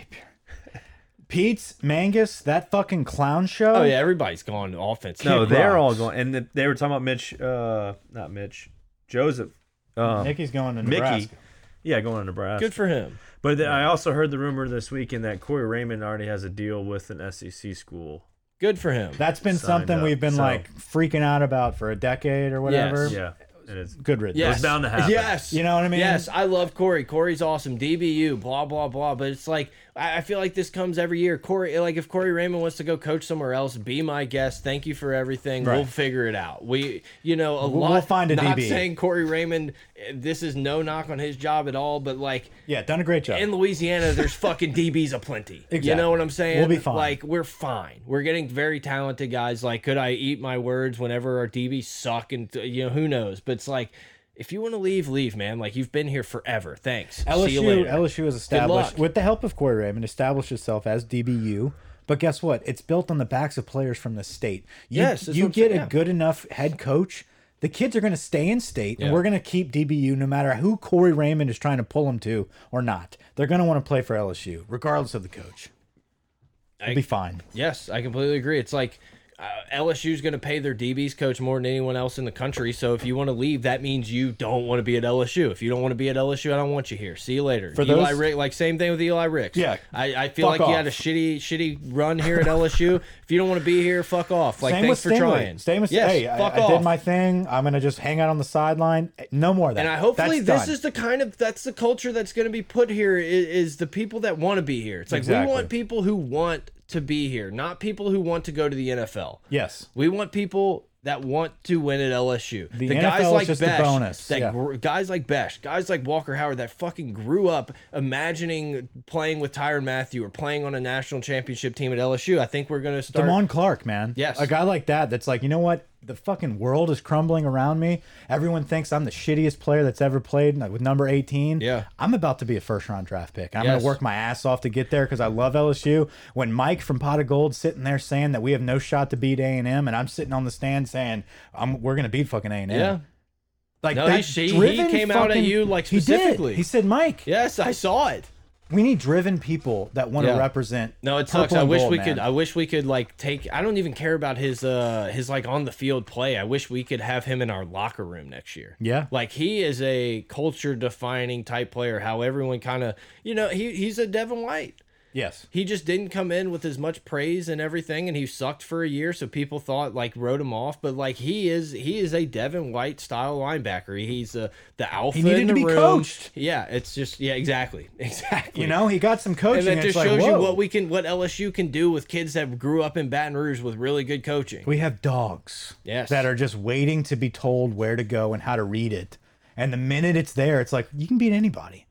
Speaker 1: Pete's Mangus, that fucking clown show.
Speaker 3: Oh yeah. Everybody's gone to offense.
Speaker 4: No,
Speaker 1: Kick
Speaker 4: they're all
Speaker 1: rocks.
Speaker 4: going and the, they were talking about Mitch uh not Mitch. Joseph. Um,
Speaker 1: Nicky's going to
Speaker 4: Mickey.
Speaker 1: Nebraska.
Speaker 4: Yeah, going to Nebraska.
Speaker 3: good for him.
Speaker 4: But then I also heard the rumor this weekend that Corey Raymond already has a deal with an SEC school.
Speaker 3: Good for him.
Speaker 1: That's been
Speaker 4: Signed
Speaker 1: something
Speaker 4: up,
Speaker 1: we've been
Speaker 4: so-
Speaker 1: like freaking out about for a decade or whatever.
Speaker 4: Yeah, it is.
Speaker 1: Good riddance.
Speaker 3: yes.
Speaker 4: bound to happen.
Speaker 3: Yes.
Speaker 1: You know what I mean?
Speaker 3: Yes. I love Corey. Corey's awesome. DBU. Blah blah blah. But it's like I, I feel like this comes every year. Corey. Like if Corey Raymond wants to go coach somewhere else, be my guest. Thank you for everything. We'll
Speaker 1: Right.
Speaker 3: figure it out. We. You know a
Speaker 1: We'll-
Speaker 3: lot.
Speaker 1: we'll find a
Speaker 3: not
Speaker 1: DB.
Speaker 3: saying Corey Raymond. eh, This is no knock on his job at all. But like.
Speaker 1: Yeah, done a great job.
Speaker 3: in Louisiana, there's fucking DBs aplenty. You
Speaker 1: Exactly.
Speaker 3: know what I'm saying?
Speaker 1: We'll be fine.
Speaker 3: Like we're fine. We're getting very talented guys. Like, could I eat my words whenever our DBs suck? And you know who knows? But it's like, if you want to leave, leave, man. Like you've been here forever. Thanks. See you
Speaker 1: LSU
Speaker 3: later.
Speaker 1: LSU has
Speaker 3: luck.
Speaker 1: established with the help of Corey Raymond established itself as DBU. But guess what? It's built on the backs of players from the state. You,
Speaker 3: Yes, that's what
Speaker 1: you
Speaker 3: I'm
Speaker 1: get
Speaker 3: saying,
Speaker 1: a
Speaker 3: yeah.
Speaker 1: good enough head coach. The kids are going to stay in state,
Speaker 3: Yeah.
Speaker 1: and we're going to keep DBU no matter who Corey Raymond is trying to pull them to or not. They're going to want to play for LSU, regardless of the coach. It'll
Speaker 3: I-
Speaker 1: be fine.
Speaker 3: Yes, I completely agree. It's like uh, LSU's going to pay their DBs coach more than anyone else in the country. So if you want to leave, that means you don't want to be at LSU. If you don't want to be at LSU, I don't want you here. See you later.
Speaker 1: For
Speaker 3: Eli
Speaker 1: those-
Speaker 3: Rick, like same thing with Eli Ricks.
Speaker 1: Yeah.
Speaker 3: I, I feel
Speaker 1: Fuck
Speaker 3: like you had a
Speaker 1: off.
Speaker 3: shitty, shitty run here at LSU. if you don't want to be here, fuck off. Like thanks for
Speaker 1: Stingley.
Speaker 3: trying.
Speaker 1: Same with
Speaker 3: yes,
Speaker 1: hey, I,
Speaker 3: fuck
Speaker 1: I
Speaker 3: off.
Speaker 1: did my thing. I'm going to just hang out on the sideline. No more of that.
Speaker 3: and I hopefully
Speaker 1: That's
Speaker 3: this
Speaker 1: done.
Speaker 3: is the kind of that's the culture that's going to be put here i- is, the people that want to be here. It's like we
Speaker 1: Exactly.
Speaker 3: want people who want to be here, not people who want to go to the NFL.
Speaker 1: yes.
Speaker 3: We want people that want to win at LSU. The,
Speaker 1: NFL
Speaker 3: guys
Speaker 1: is
Speaker 3: like
Speaker 1: just a
Speaker 3: Besh,
Speaker 1: bonus,
Speaker 3: that
Speaker 1: yeah.
Speaker 3: gr- guys like Besh, guys like Walker Howard that fucking grew up imagining playing with Tyron Matthew or playing on a national championship team at LSU. I think we're gonna start.
Speaker 1: Damon Clark, man.
Speaker 3: Yes.
Speaker 1: A guy like that that's like, you know what? The fucking world is crumbling around me. Everyone thinks I'm the shittiest player that's ever played like, with number 18.
Speaker 3: Yeah.
Speaker 1: I'm about to be a first round draft pick. I'm going
Speaker 3: Yes.
Speaker 1: to work my ass off to get there because I love LSU. When Mike from Pot of Gold sitting there saying that we have no shot to beat A&M and I'm sitting on the stand saying, I'm, we're going to beat fucking A&M.
Speaker 3: yeah.
Speaker 1: Like
Speaker 3: No,
Speaker 1: that
Speaker 3: he- she- he
Speaker 1: driven
Speaker 3: came out at
Speaker 1: fucking-
Speaker 3: you, like,
Speaker 1: He did.
Speaker 3: specifically.
Speaker 1: He, said, Mike,
Speaker 3: Yes, I saw it.
Speaker 1: we need driven people that want to
Speaker 3: Yeah.
Speaker 1: represent.
Speaker 3: No, it
Speaker 1: purple
Speaker 3: sucks. I
Speaker 1: and
Speaker 3: wish
Speaker 1: gold,
Speaker 3: we
Speaker 1: man.
Speaker 3: could. I wish we could like take. I don't even care about his uh his like on the field play. I wish we could have him in our locker room next year.
Speaker 1: Yeah.
Speaker 3: like he is a culture defining type player. How everyone kind of you know he he's a Devin White.
Speaker 1: Yes.
Speaker 3: He just didn't come in with as much praise and everything, and he sucked for a year, so people thought like wrote him off. But like he is, he is a Devin White style linebacker. He's the the alpha.
Speaker 1: needed
Speaker 3: in
Speaker 1: to
Speaker 3: the
Speaker 1: be
Speaker 3: room.
Speaker 1: coached.
Speaker 3: Yeah, it's just yeah, exactly, exactly.
Speaker 1: You know, he got some coaching.
Speaker 3: And that
Speaker 1: it's
Speaker 3: just
Speaker 1: like,
Speaker 3: shows you
Speaker 1: whoa,
Speaker 3: what we can, what LSU can do with kids that grew up in Baton Rouge with really good coaching.
Speaker 1: we have dogs
Speaker 3: Yes.
Speaker 1: that are just waiting to be told where to go and how to read it. And the minute it's there, it's like you can beat anybody.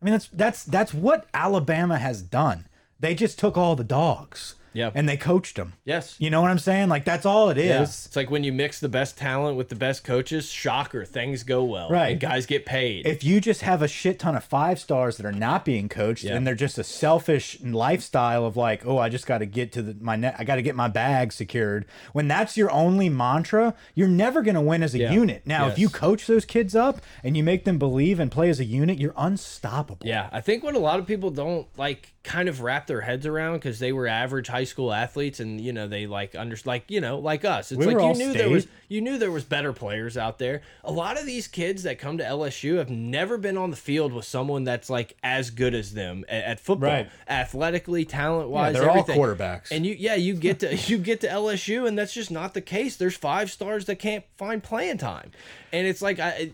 Speaker 1: I mean, that's that's that's what Alabama has done. They just took all the dogs,
Speaker 3: Yeah.
Speaker 1: and they coached them.
Speaker 3: Yes.
Speaker 1: You know what I'm saying? Like that's all it is.
Speaker 3: Yeah. It's like when you mix the best talent with the best coaches, shocker, things go well.
Speaker 1: Right.
Speaker 3: And guys get paid.
Speaker 1: if you just have a shit ton of five stars that are not being coached and they're just a selfish lifestyle of like, oh, I just got to get to the, my net, I got to get my bag secured. When that's your only mantra, you're never going to win as a unit. Now, if you
Speaker 3: Yes.
Speaker 1: coach those kids up and you make them believe and play as a unit, you're unstoppable.
Speaker 3: yeah. I think what a lot of people don't like kind of wrap their heads around because they were average high school athletes and you know, they like under like, you know, like us. It's
Speaker 1: We
Speaker 3: like
Speaker 1: were
Speaker 3: you
Speaker 1: all
Speaker 3: knew there was
Speaker 1: state.
Speaker 3: you knew there was better players out there. A lot of these kids that come to LSU have never been on the field with someone that's like as good as them at, at football.
Speaker 1: Right.
Speaker 3: Athletically, talent wise,
Speaker 1: they're all
Speaker 3: everything.
Speaker 1: quarterbacks.
Speaker 3: And you yeah, you get to you get to LSU and that's just not the case. There's five stars that can't find playing time. And it's like I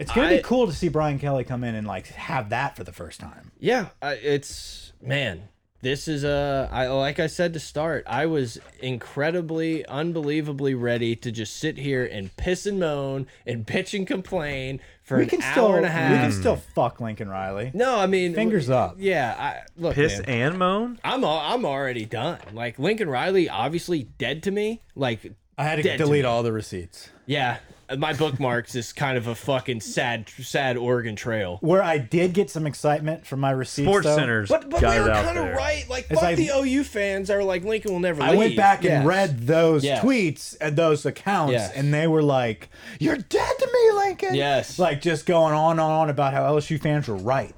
Speaker 1: It's going to
Speaker 3: I-
Speaker 1: be cool to see Brian Kelly come in and like have that for the first time.
Speaker 3: yeah I, it's man this is a I like I said to start I was incredibly unbelievably ready to just sit here and piss and moan and bitch and complain for
Speaker 1: We
Speaker 3: an
Speaker 1: can
Speaker 3: hour
Speaker 1: still,
Speaker 3: and a
Speaker 1: we
Speaker 3: half
Speaker 1: can still fuck Lincoln Riley.
Speaker 3: no I mean
Speaker 1: Fingers up.
Speaker 3: yeah I look
Speaker 4: Piss
Speaker 3: man,
Speaker 4: and moan.
Speaker 3: I'm al- I'm already done like Lincoln Riley obviously dead to me like
Speaker 1: I had to
Speaker 3: Dead to
Speaker 1: delete
Speaker 3: me.
Speaker 1: all the receipts.
Speaker 3: yeah my bookmarks is kind of a fucking sad sad Oregon Trail
Speaker 1: Where I did get some excitement from my receipts.
Speaker 4: Sports
Speaker 1: though,
Speaker 4: centers
Speaker 3: But, but we
Speaker 4: got it
Speaker 3: were
Speaker 4: out
Speaker 3: kind of
Speaker 4: there.
Speaker 3: right. Like,
Speaker 1: It's
Speaker 3: fuck
Speaker 1: like-
Speaker 3: the OU fans that were like, Lincoln will never
Speaker 1: I
Speaker 3: leave.
Speaker 1: went back
Speaker 3: Yes.
Speaker 1: and read those
Speaker 3: Yes.
Speaker 1: tweets and those accounts,
Speaker 3: Yes.
Speaker 1: and they were like, "You're dead to me, Lincoln."
Speaker 3: Yes.
Speaker 1: like just going on and on about how LSU fans were right.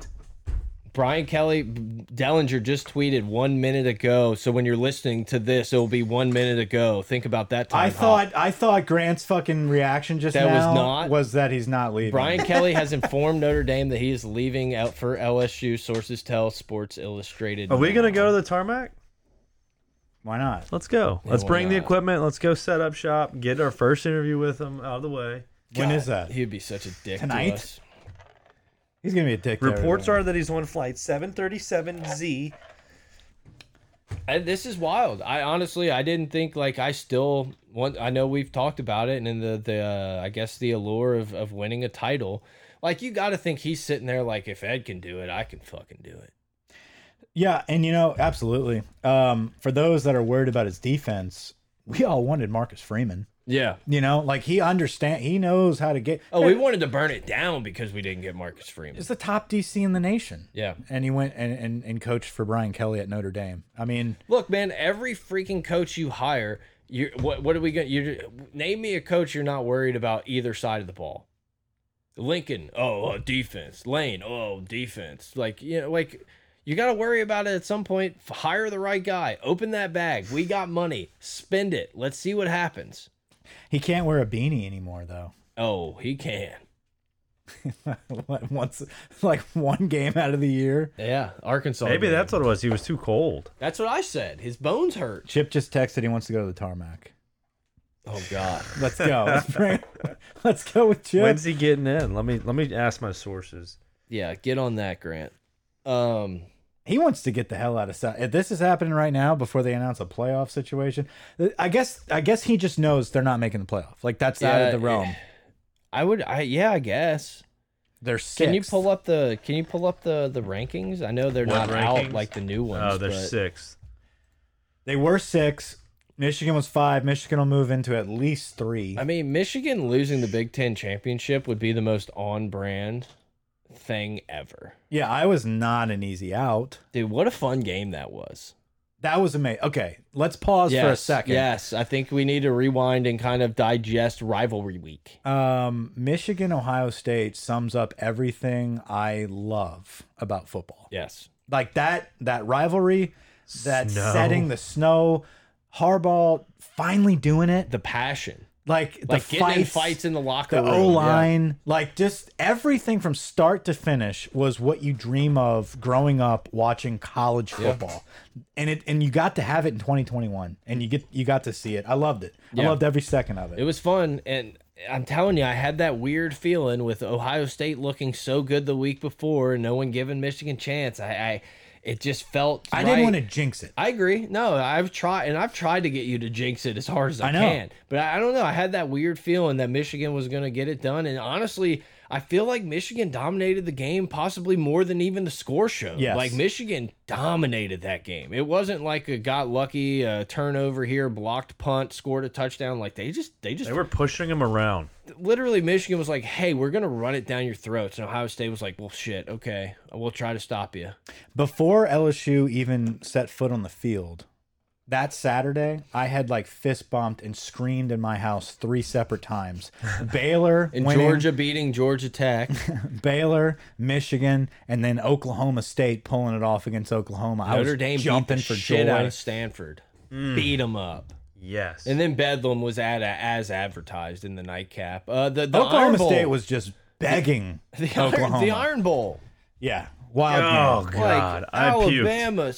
Speaker 3: Brian Kelly Dellinger just tweeted one minute ago. So when you're listening to this, it'll be one minute ago. Think about that time.
Speaker 1: I
Speaker 3: hop.
Speaker 1: thought I thought Grant's fucking reaction just
Speaker 3: That was
Speaker 1: now
Speaker 3: not-
Speaker 1: was that he's not leaving.
Speaker 3: Brian Kelly has informed Notre Dame that he is leaving out for LSU. Sources tell Sports Illustrated.
Speaker 4: Are we gonna go to the tarmac?
Speaker 1: why not?
Speaker 4: Let's go. Let's
Speaker 3: why
Speaker 4: bring the
Speaker 3: not?
Speaker 4: equipment. Let's go set up shop. Get our first interview with them out of the way.
Speaker 1: When is that?
Speaker 3: He'd be such a dick
Speaker 1: Tonight?
Speaker 3: to us.
Speaker 1: He's gonna be a dick.
Speaker 4: Reports are that he's on flight 737Z.
Speaker 3: I, this is wild. I honestly, I didn't think like I still want. I know we've talked about it, and then the the uh, I guess the allure of of winning a title. Like you got to think he's sitting there like if Ed can do it, I can fucking do it.
Speaker 1: Yeah, and you know, absolutely. Um, for those that are worried about his defense, we all wanted Marcus Freeman.
Speaker 3: Yeah.
Speaker 1: You know, like he understand, he knows how to get.
Speaker 3: Oh, we wanted to burn it down because we didn't get Marcus Freeman.
Speaker 1: is the top DC in the nation.
Speaker 3: Yeah.
Speaker 1: and he went and, and, and coached for Brian Kelly at Notre Dame. I mean,
Speaker 3: Look, man, every freaking coach you hire, you what what are we going you name me a coach you're not worried about either side of the ball. Lincoln, oh, uh, defense. Lane, oh, defense. Like, you know, like you got to worry about it at some point. F- Hire the right guy. Open that bag. We got money. Spend it. Let's see what happens.
Speaker 1: he can't wear a beanie anymore though.
Speaker 3: Oh, he can.
Speaker 1: Once, like one game out of the year.
Speaker 3: Yeah, Arkansas.
Speaker 4: Maybe
Speaker 3: man.
Speaker 4: that's what it was. He was too cold.
Speaker 3: That's what I said. His bones hurt.
Speaker 1: Chip just texted he wants to go to the tarmac.
Speaker 3: Oh god.
Speaker 1: Let's go. let's, bring, let's go with Chip.
Speaker 4: When's he getting in? Let me let me ask my sources.
Speaker 3: Yeah, get on that, Grant. Um
Speaker 1: he wants to get the hell out of South. If this is happening right now before they announce a playoff situation, I guess I guess he just knows they're not making the playoff. Like that's out
Speaker 3: Yeah,
Speaker 1: of the realm.
Speaker 3: I would I yeah, I guess.
Speaker 1: They're six.
Speaker 3: Can you pull up the Can you pull up the the rankings? I know they're
Speaker 4: What
Speaker 3: not out
Speaker 4: rankings?
Speaker 3: like the new ones.
Speaker 4: Oh, they're
Speaker 3: but
Speaker 4: sixth.
Speaker 1: They were six. Michigan was five. Michigan will move into at least three.
Speaker 3: I mean, Michigan losing the Big Ten championship would be the most on brand thing ever.
Speaker 1: Yeah, I was not an easy out.
Speaker 3: Dude, what a fun game that was.
Speaker 1: That was amazing. Okay, let's pause
Speaker 3: Yes,
Speaker 1: for a second.
Speaker 3: Yes, I think we need to rewind and kind of digest rivalry week.
Speaker 1: Um, Michigan Ohio State sums up everything I love about football.
Speaker 3: Yes.
Speaker 1: Like that that rivalry, that
Speaker 4: Snow.
Speaker 1: setting the snow, Harbaugh finally doing it.
Speaker 3: The passion.
Speaker 1: Like,
Speaker 3: Like
Speaker 1: the
Speaker 3: getting in
Speaker 1: fights,
Speaker 3: fights in the locker
Speaker 1: the
Speaker 3: room. yeah.
Speaker 1: O line, like just everything from start to finish was what you dream of growing up watching college football, and it and you got to have it in 2021, and you get you got to see it. I loved it. I
Speaker 3: Yeah.
Speaker 1: loved every second of it.
Speaker 3: It was fun, and I'm telling you, I had that weird feeling with Ohio State looking so good the week before, and no one giving Michigan a chance. I, I it just felt.
Speaker 1: I didn't want to
Speaker 3: to.
Speaker 1: jinx it.
Speaker 3: I agree. No, I've tried, and I've tried to get you to jinx it as hard as I,
Speaker 1: I know.
Speaker 3: can. But I, I don't know. I had that weird feeling that Michigan was going to get it done, and honestly, I feel like Michigan dominated the game, possibly more than even the score showed.
Speaker 1: Yes.
Speaker 3: Like Michigan dominated that game. It wasn't like a got lucky uh, turnover here, blocked punt, scored a touchdown. Like they just they just
Speaker 4: They were pushing him around.
Speaker 3: literally Michigan was like, "Hey, we're gonna run it down your throats," and Ohio State was like, "Well, shit, okay, we'll try to stop you."
Speaker 1: Before LSU even set foot on the field, that Saturday, I had like fist bumped and screamed in my house three separate times. Baylor
Speaker 3: And
Speaker 1: winning,
Speaker 3: Georgia beating Georgia Tech,
Speaker 1: Baylor, Michigan, and then Oklahoma State pulling it off against Oklahoma. I
Speaker 3: Notre
Speaker 1: was
Speaker 3: Dame
Speaker 1: jumping
Speaker 3: beat the
Speaker 1: for
Speaker 3: shit
Speaker 1: joy. Mm.
Speaker 3: out of Stanford, beat them up,
Speaker 4: Yes.
Speaker 3: and then Bedlam was at as advertised in the nightcap. Uh, the, the Iron
Speaker 1: Oklahoma
Speaker 3: Bowl,
Speaker 1: State was just begging
Speaker 3: the
Speaker 1: Oklahoma.
Speaker 3: Iron, the Iron Bowl.
Speaker 1: yeah, wild.
Speaker 4: oh
Speaker 1: game.
Speaker 4: god,
Speaker 3: like
Speaker 4: I puked.
Speaker 3: Alabama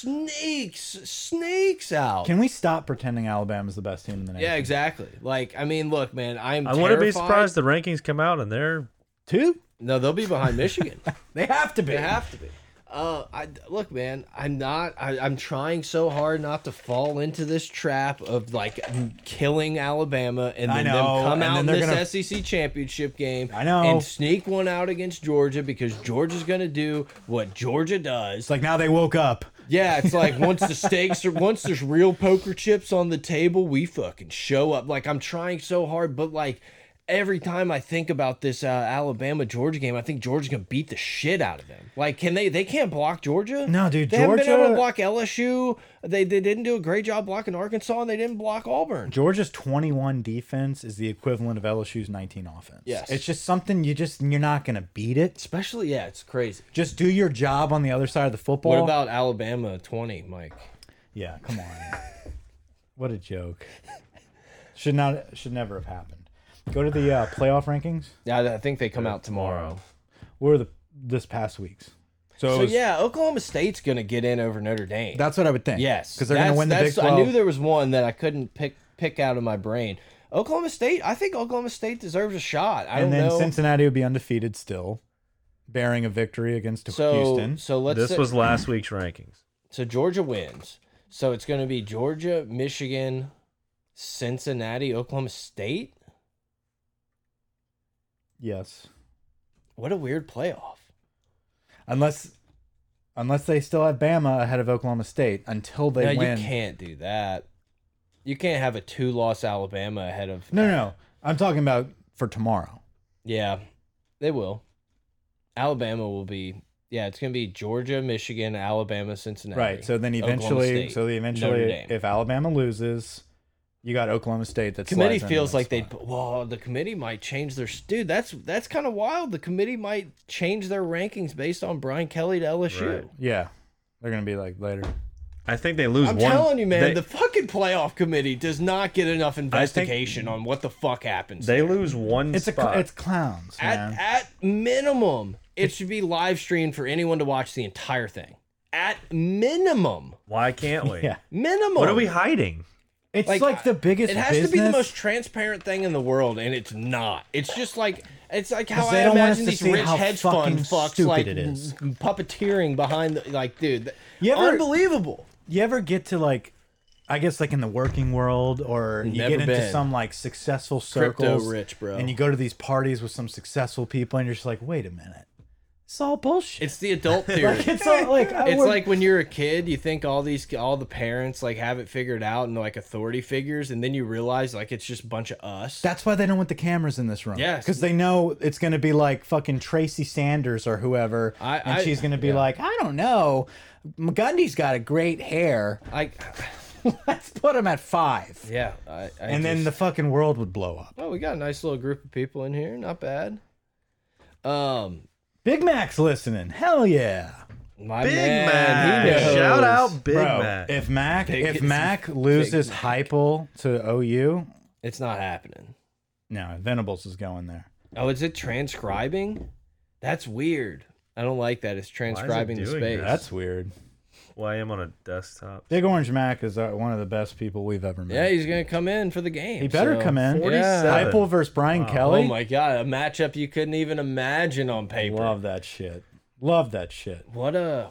Speaker 3: snakes snakes out.
Speaker 1: Can we stop pretending Alabama's the best team in the nation?
Speaker 3: yeah, exactly. Like, I mean, look, man, I'm.
Speaker 4: I wouldn't be
Speaker 3: terrified.
Speaker 4: surprised the rankings come out and they're
Speaker 1: two.
Speaker 3: No, they'll be behind Michigan.
Speaker 1: They have to be.
Speaker 3: They have to be. Uh, I look, man. I'm not. I, I'm trying so hard not to fall into this trap of like killing Alabama and
Speaker 1: I
Speaker 3: then
Speaker 1: know,
Speaker 3: them come
Speaker 1: and
Speaker 3: out
Speaker 1: then
Speaker 3: in
Speaker 1: they're
Speaker 3: this
Speaker 1: gonna-
Speaker 3: SEC championship game.
Speaker 1: I know.
Speaker 3: and sneak one out against Georgia because Georgia's gonna do what Georgia does.
Speaker 1: It's like now they woke up.
Speaker 3: Yeah, it's like once the stakes are once there's real poker chips on the table, we fucking show up. Like I'm trying so hard, but like every time I think about this uh, Alabama Georgia game, I think Georgia's gonna beat the shit out of them. Like, can they? They can't block Georgia.
Speaker 1: No, dude,
Speaker 3: They haven't been able
Speaker 1: Georgia-
Speaker 3: to block LSU. They they didn't do a great job blocking Arkansas, and they didn't block Auburn.
Speaker 1: Georgia's 21 defense is the equivalent of LSU's 19 offense.
Speaker 3: Yes.
Speaker 1: It's just something you just you're not going to beat it.
Speaker 3: Especially, yeah, it's crazy.
Speaker 1: Just do your job on the other side of the football.
Speaker 3: What about Alabama 20, Mike?
Speaker 1: Yeah, come on. what a joke. Should not should never have happened. Go to the uh, playoff rankings.
Speaker 3: Yeah, I I think they come out tomorrow.
Speaker 1: What are the this past week's? So, it
Speaker 3: So
Speaker 1: was-
Speaker 3: yeah, Oklahoma State's gonna get in over Notre Dame.
Speaker 1: that's what I would think.
Speaker 3: Yes,
Speaker 1: because they're going to
Speaker 3: that's-
Speaker 1: win the
Speaker 3: that's-
Speaker 1: Big 12.
Speaker 3: I knew there was one that I couldn't pick pick out of my brain. Oklahoma State. I think Oklahoma State deserves a shot. I
Speaker 1: and
Speaker 3: don't
Speaker 1: then
Speaker 3: know.
Speaker 1: Cincinnati would be undefeated still, bearing a victory against
Speaker 3: so
Speaker 1: Houston.
Speaker 3: so let's
Speaker 4: this
Speaker 3: say-
Speaker 4: was last week's rankings.
Speaker 3: so Georgia wins. So it's going to be Georgia, Michigan, Cincinnati, Oklahoma State.
Speaker 1: Yes,
Speaker 3: What a weird playoff.
Speaker 1: unless unless they still have Bama ahead of Oklahoma State until they
Speaker 3: no,
Speaker 1: win.
Speaker 3: you can't do that. You can't have a two loss Alabama ahead of
Speaker 1: No, no, no. I'm talking about for tomorrow.
Speaker 3: Yeah, they will. Alabama will be. Yeah, it's gonna be Georgia, Michigan, Alabama, Cincinnati.
Speaker 1: Right. So then
Speaker 3: Oklahoma
Speaker 1: eventually,
Speaker 3: State,
Speaker 1: so they
Speaker 3: Notre
Speaker 1: eventually,
Speaker 3: Dame.
Speaker 1: if Alabama loses, you got Oklahoma State. That
Speaker 3: committee
Speaker 1: slides into
Speaker 3: feels
Speaker 1: that
Speaker 3: like they'd
Speaker 1: spot.
Speaker 3: put- well, the committee might change their dude. That's that's kind of wild. The committee might change their rankings based on Brian Kelly to LSU.
Speaker 4: Right.
Speaker 1: Yeah, they're gonna be like later.
Speaker 4: I think they lose
Speaker 3: I'm
Speaker 4: one.
Speaker 3: telling you, man,
Speaker 4: they,
Speaker 3: the fucking playoff committee does not get enough investigation on what the fuck happens.
Speaker 4: they lose one
Speaker 1: It's a cl-
Speaker 4: spot.
Speaker 1: it's clowns,
Speaker 3: at,
Speaker 1: man.
Speaker 3: at minimum, it should be live streamed for anyone to watch the entire thing. At minimum,
Speaker 4: Why can't we?
Speaker 1: Yeah.
Speaker 3: minimum.
Speaker 4: What are we hiding?
Speaker 1: it's like,
Speaker 3: like,
Speaker 1: the biggest.
Speaker 3: It has
Speaker 1: business.
Speaker 3: to be the most transparent thing in the world, and it's not. It's just like it's like how
Speaker 1: 'Cause
Speaker 3: I
Speaker 1: they don't want us
Speaker 3: imagine
Speaker 1: to
Speaker 3: these
Speaker 1: see
Speaker 3: rich
Speaker 1: how
Speaker 3: hedge
Speaker 1: fucking
Speaker 3: fund fucks
Speaker 1: stupid
Speaker 3: like
Speaker 1: it is.
Speaker 3: puppeteering behind the like, dude, th-
Speaker 1: You ever-
Speaker 3: unbelievable.
Speaker 1: You ever get to like, I guess like in the working world, or you
Speaker 3: Never
Speaker 1: get into
Speaker 3: been.
Speaker 1: some like successful
Speaker 3: Crypto
Speaker 1: circles,
Speaker 3: rich, bro.
Speaker 1: and you go to these parties with some successful people, and you're just like, wait a minute, it's all bullshit.
Speaker 3: It's the adult theory.
Speaker 1: It's, all like I
Speaker 3: It's
Speaker 1: would-
Speaker 3: like when you're a kid, you think all these all the parents like have it figured out and like authority figures, and then you realize like it's just a bunch of us.
Speaker 1: That's why they don't want the cameras in this room.
Speaker 3: Yes.
Speaker 1: Because they know it's going to be like fucking Tracy Sanders or whoever.
Speaker 3: I-
Speaker 1: and
Speaker 3: I-
Speaker 1: she's going to be
Speaker 3: yeah.
Speaker 1: like, I don't know. McGundy's got a great hair.
Speaker 3: Like,
Speaker 1: Let's put him at five.
Speaker 3: yeah. I, I
Speaker 1: And then
Speaker 3: just-
Speaker 1: the fucking world would blow up.
Speaker 3: oh, we got a nice little group of people in here. Not bad. Um,
Speaker 1: Big Mac's listening. Hell yeah.
Speaker 3: my
Speaker 4: Big
Speaker 3: man,
Speaker 4: Mac.
Speaker 3: he knows.
Speaker 4: Shout out Big
Speaker 1: Bro,
Speaker 4: Mac.
Speaker 1: if Mac
Speaker 3: Big-
Speaker 1: if Mac loses
Speaker 3: Big Mac.
Speaker 1: Hypel to OU,
Speaker 3: It's not happening.
Speaker 1: No, Venables is going there.
Speaker 3: Oh, is it transcribing? That's weird. I don't like that. It's transcribing the
Speaker 4: doing
Speaker 3: space.
Speaker 4: that?
Speaker 1: That's weird.
Speaker 4: Well, I am on a desktop.
Speaker 1: Big Orange Mac is uh, one of the best people we've ever met.
Speaker 3: yeah, he's gonna come in for the game.
Speaker 1: he better
Speaker 3: so-
Speaker 1: come in.
Speaker 4: 47.
Speaker 1: Heupel versus Brian Kelly.
Speaker 3: Oh my god, a matchup you couldn't even imagine on paper.
Speaker 1: Love that shit. Love that shit.
Speaker 3: What a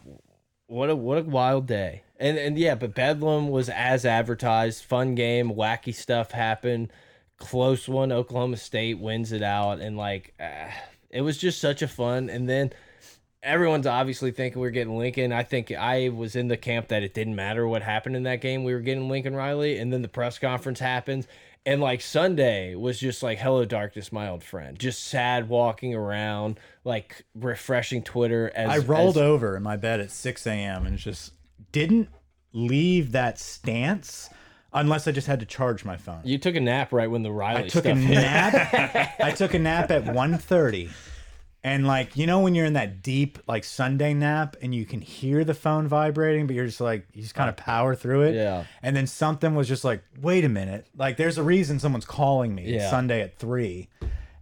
Speaker 3: what a what a wild day. And and yeah, but Bedlam was as advertised. Fun game, wacky stuff happened. Close one. Oklahoma State wins it out, and like ah, it was just such a fun. And then everyone's obviously thinking we're getting Lincoln. I think I was in the camp that it didn't matter what happened in that game. We were getting Lincoln Riley, and then the press conference happens. And like Sunday was just like hello darkness, my old friend. Just sad walking around, like refreshing Twitter. As
Speaker 1: I rolled
Speaker 3: as-
Speaker 1: over in my bed at 6 a.m. and just didn't leave that stance unless I just had to charge my phone.
Speaker 3: You took a nap right when the Riley
Speaker 1: I took a
Speaker 3: stuff hit.
Speaker 1: nap. I took a nap at 1.30. And like, you know when you're in that deep like Sunday nap and you can hear the phone vibrating, but you're just like you just kind of power through it.
Speaker 3: Uh, Yeah.
Speaker 1: And then something was just like, wait a minute. Like there's a reason someone's calling me
Speaker 3: Yeah.
Speaker 1: Sunday at three.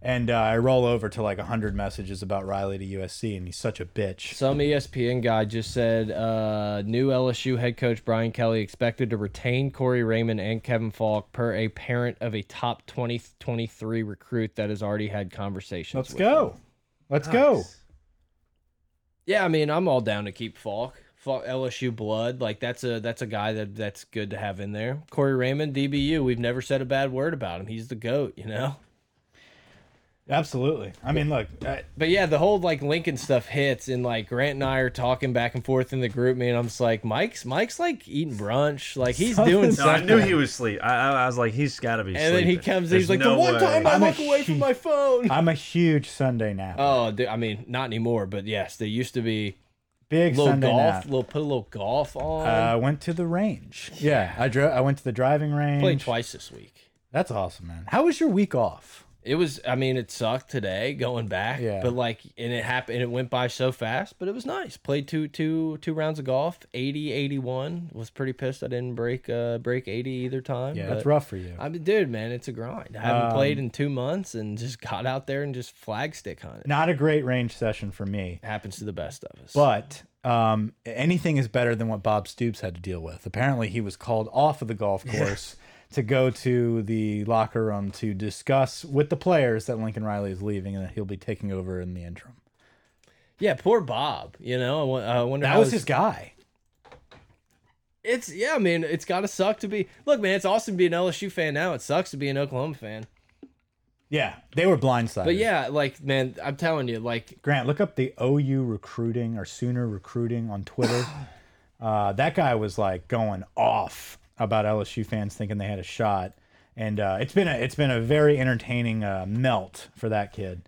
Speaker 1: And uh, I roll over to like hundred messages about Riley to USC and he's such a bitch.
Speaker 3: Some E ESPN guy just said uh, new LSU head coach Brian Kelly expected to retain Corey Raymond and Kevin Falk per a parent of a top 2023 recruit that has already had conversations.
Speaker 1: Let's
Speaker 3: with him.
Speaker 1: go. Let's go.
Speaker 3: Yeah, I mean, I'm all down to keep Falk. Falk LSU blood, like that's a that's a guy that that's good to have in there. Corey Raymond, DBU, we've never said a bad word about him. He's the goat, you know.
Speaker 1: Absolutely. I mean, look, I,
Speaker 3: But yeah, the whole like Lincoln stuff hits, and like Grant and I are talking back and forth in the group. Me and I'm just like, Mike's Mike's like eating brunch, like he's doing
Speaker 1: Something's
Speaker 4: No, I
Speaker 3: something.
Speaker 4: knew he was asleep. I, I, I was like, he's got to be.
Speaker 3: and then he
Speaker 4: sleeping.
Speaker 3: comes, in,
Speaker 4: There's
Speaker 3: he's like,
Speaker 4: no
Speaker 3: the one
Speaker 4: way.
Speaker 3: time I
Speaker 1: I'm a
Speaker 3: look away from
Speaker 1: sheep.
Speaker 3: my phone.
Speaker 1: I'm a huge Sunday nap.
Speaker 3: Oh, dude, I mean, not anymore, but yes, they used to be
Speaker 1: Big
Speaker 3: a little
Speaker 1: Sunday
Speaker 3: golf,
Speaker 1: nap.
Speaker 3: little put a little golf on.
Speaker 1: Uh,
Speaker 4: Uh,
Speaker 1: I went to the range. Yeah, I drove. I went to the driving range.
Speaker 3: Played twice this week.
Speaker 1: That's awesome, man. How was your week off?
Speaker 3: It was, I mean, it sucked today going back,
Speaker 1: Yeah.
Speaker 3: but like, and it happened, it went by so fast, but it was nice. Played two, two, two rounds of golf, 80, 81. Was pretty pissed I didn't break, uh, break 80 either time.
Speaker 1: Yeah,
Speaker 3: but-
Speaker 1: that's rough for you.
Speaker 3: I mean, dude, man, it's a grind. I haven't
Speaker 1: Um,
Speaker 3: played in two months and just got out there and just flag stick hunted.
Speaker 1: Not a great range session for me,
Speaker 3: It happens to the best of us.
Speaker 1: but um, anything is better than what Bob Stoops had to deal with. Apparently, he was called off of the golf course to go to the locker room to discuss with the players that Lincoln Riley is leaving and that he'll be taking over in the interim.
Speaker 3: yeah, poor Bob. You know, I wo- I wonder
Speaker 1: That
Speaker 3: how
Speaker 1: was his guy.
Speaker 3: It's yeah, I mean, it's gotta suck to be. Look, man, it's awesome to be an LSU fan now. It sucks to be an Oklahoma fan.
Speaker 1: Yeah, they were blindsided.
Speaker 3: But yeah, like man, I'm telling you, like
Speaker 1: Grant, look up the OU recruiting or Sooner recruiting on Twitter. uh, that guy was like going off about LSU fans thinking they had a shot, and uh, it's been a it's been a very entertaining uh, melt for that kid.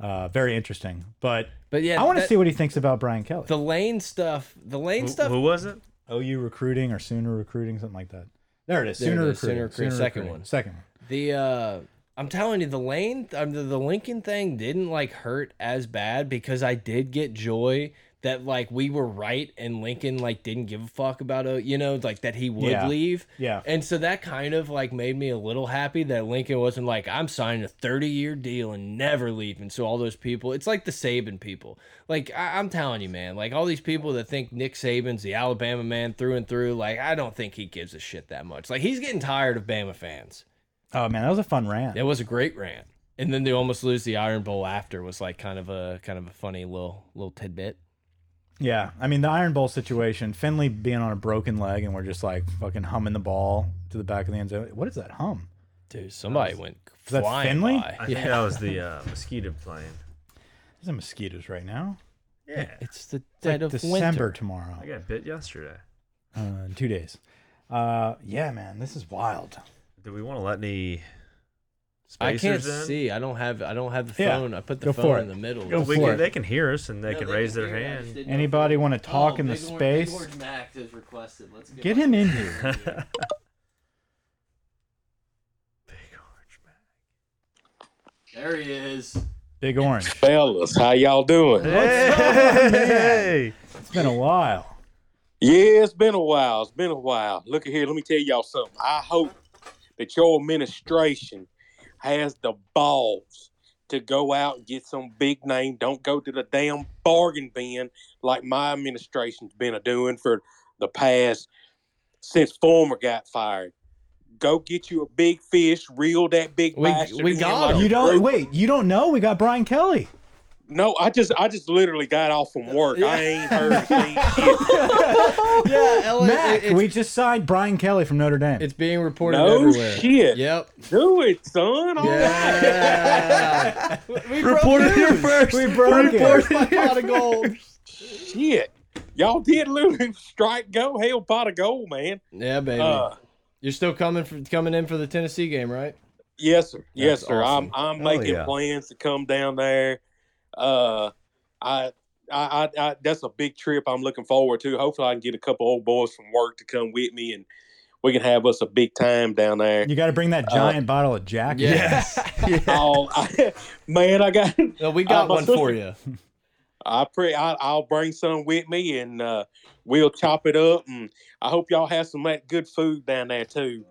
Speaker 1: Uh, very interesting, but
Speaker 3: But yeah,
Speaker 1: I want to
Speaker 3: that-
Speaker 1: see what he thinks about Brian Kelly.
Speaker 3: the lane stuff, the lane
Speaker 4: Who,
Speaker 3: stuff.
Speaker 4: who was it?
Speaker 1: OU recruiting or Sooner recruiting, something like that. There it is.
Speaker 3: There it
Speaker 1: Sooner
Speaker 3: is, Sooner
Speaker 1: recruiting.
Speaker 3: recruiting, second one.
Speaker 1: Second one.
Speaker 3: The uh I'm telling you, the lane, um, the, the Lincoln thing didn't like hurt as bad because I did get joy that like we were right and Lincoln like didn't give a fuck about it, you know, like that he would
Speaker 1: Yeah.
Speaker 3: leave.
Speaker 1: Yeah.
Speaker 3: And so that kind of like made me a little happy that Lincoln wasn't like, I'm signing a 30 year deal and never leaving. So all those people, it's like the Saban people. Like, I, I'm telling you, man, like all these people that think Nick Saban's the Alabama man through and through, like, I don't think he gives a shit that much. Like, he's getting tired of Bama fans.
Speaker 1: Oh man, that was a fun rant.
Speaker 3: It was a great rant. And then they almost lose the Iron Bowl after was like kind of a kind of a funny little little tidbit.
Speaker 1: Yeah, I mean the Iron Bowl situation, Finley being on a broken leg, and we're just like fucking humming the ball to the back of the end zone. What is that hum?
Speaker 3: Dude, somebody went
Speaker 1: that
Speaker 3: flying
Speaker 1: Finley?
Speaker 3: by.
Speaker 4: I think that was the uh, mosquito plane.
Speaker 1: There's some mosquitoes right now.
Speaker 4: Yeah,
Speaker 3: It's the
Speaker 1: It's like
Speaker 3: dead of
Speaker 1: December
Speaker 3: winter.
Speaker 1: tomorrow.
Speaker 4: I got bit yesterday.
Speaker 1: Uh, in two days. Uh, yeah, man, this is wild.
Speaker 4: Do we want to let any
Speaker 3: I
Speaker 4: spacers
Speaker 3: can't
Speaker 4: in?
Speaker 3: see. I don't have I don't have the
Speaker 1: Yeah,
Speaker 3: phone. I put the
Speaker 1: go
Speaker 3: phone
Speaker 1: for
Speaker 3: in
Speaker 1: it.
Speaker 3: the middle.
Speaker 1: Go
Speaker 4: We
Speaker 1: for
Speaker 4: can,
Speaker 1: it.
Speaker 4: they can hear us and they can raise their hand.
Speaker 1: Anybody
Speaker 3: Oh,
Speaker 1: want to talk in the space?
Speaker 3: Mac has requested. Let's
Speaker 1: Get him in here.
Speaker 4: Big orange man.
Speaker 3: There he is.
Speaker 1: Big Orange.
Speaker 5: Fellas, how y'all doing?
Speaker 4: Hey!
Speaker 1: It's been a while.
Speaker 5: Yeah, it's been a while. It's been a while. Look at here. Let me tell y'all something. I hope that your administration has the balls to go out and get some big name. Don't go to the damn bargain bin like my administration's been a doing for the past since Former got fired. Go get you a big fish, reel that big
Speaker 3: We-
Speaker 5: bastard.
Speaker 3: we
Speaker 5: in
Speaker 3: got
Speaker 5: like
Speaker 3: him.
Speaker 5: a
Speaker 1: You don't
Speaker 5: group.
Speaker 1: wait. You don't know. We got Brian Kelly.
Speaker 5: No, I just I just literally got off from work. I ain't heard a thing shit.
Speaker 3: Yeah, Ellen,
Speaker 1: Mac,
Speaker 3: Oh, it's,
Speaker 1: we just signed Brian Kelly from Notre Dame.
Speaker 3: it's being reported
Speaker 5: No
Speaker 3: everywhere.
Speaker 5: shit.
Speaker 3: Yep.
Speaker 5: Do it, son. All right.
Speaker 3: Yeah. we
Speaker 4: Report it here first.
Speaker 1: we broke it.
Speaker 3: First, my pot of gold.
Speaker 5: Shit. Y'all did literally strike go hell pot of gold, man.
Speaker 3: Yeah, baby.
Speaker 5: Uh,
Speaker 3: You're still coming for, coming in for the Tennessee game, right?
Speaker 5: yes, sir. Yes,
Speaker 3: That's
Speaker 5: sir.
Speaker 3: awesome.
Speaker 5: I'm I'm
Speaker 4: Hell
Speaker 5: making
Speaker 4: yeah.
Speaker 5: plans to come down there. Uh I I, I, I, that's a big trip I'm looking forward to. Hopefully, I can get a couple old boys from work to come with me, and we can have us a big time down there.
Speaker 1: You got to bring that giant bottle of Jack.
Speaker 3: Yeah.
Speaker 4: Yes. Yeah.
Speaker 5: Oh, I, man, I got
Speaker 3: No, we got
Speaker 5: Uh, my
Speaker 3: one for you.
Speaker 5: I pray I, I'll bring some with me, and uh, we'll chop it up. And I hope y'all have some of that good food down there too.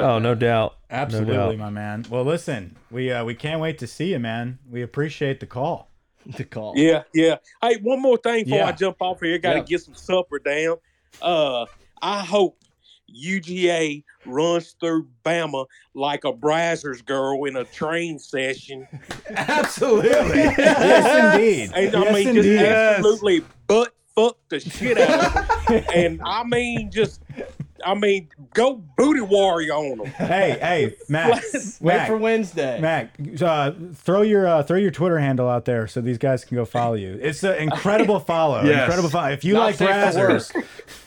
Speaker 4: Oh, no doubt.
Speaker 1: Absolutely,
Speaker 4: No doubt.
Speaker 1: my man. Well, listen, we uh, we can't wait to see you, man. We appreciate the call.
Speaker 3: The call.
Speaker 5: yeah, yeah. Hey, one more thing before
Speaker 1: Yeah.
Speaker 5: I jump off here, got to
Speaker 3: Yeah.
Speaker 5: get some supper down. Uh, I hope UGA runs through Bama like a Brazzers girl in a train session.
Speaker 1: Absolutely. yes, indeed.
Speaker 5: And, I
Speaker 1: yes,
Speaker 5: mean, just
Speaker 1: indeed.
Speaker 5: absolutely butt fuck the shit out of them. and I mean, just. I mean, go booty warrior on them.
Speaker 1: Hey, hey, Mac.
Speaker 3: Wait
Speaker 1: Mac,
Speaker 3: for Wednesday.
Speaker 1: Mac, uh, throw your uh, throw your Twitter handle out there so these guys can go follow you. It's an incredible follow.
Speaker 4: Yes.
Speaker 1: Incredible follow. If you
Speaker 3: Not
Speaker 1: like
Speaker 3: safe for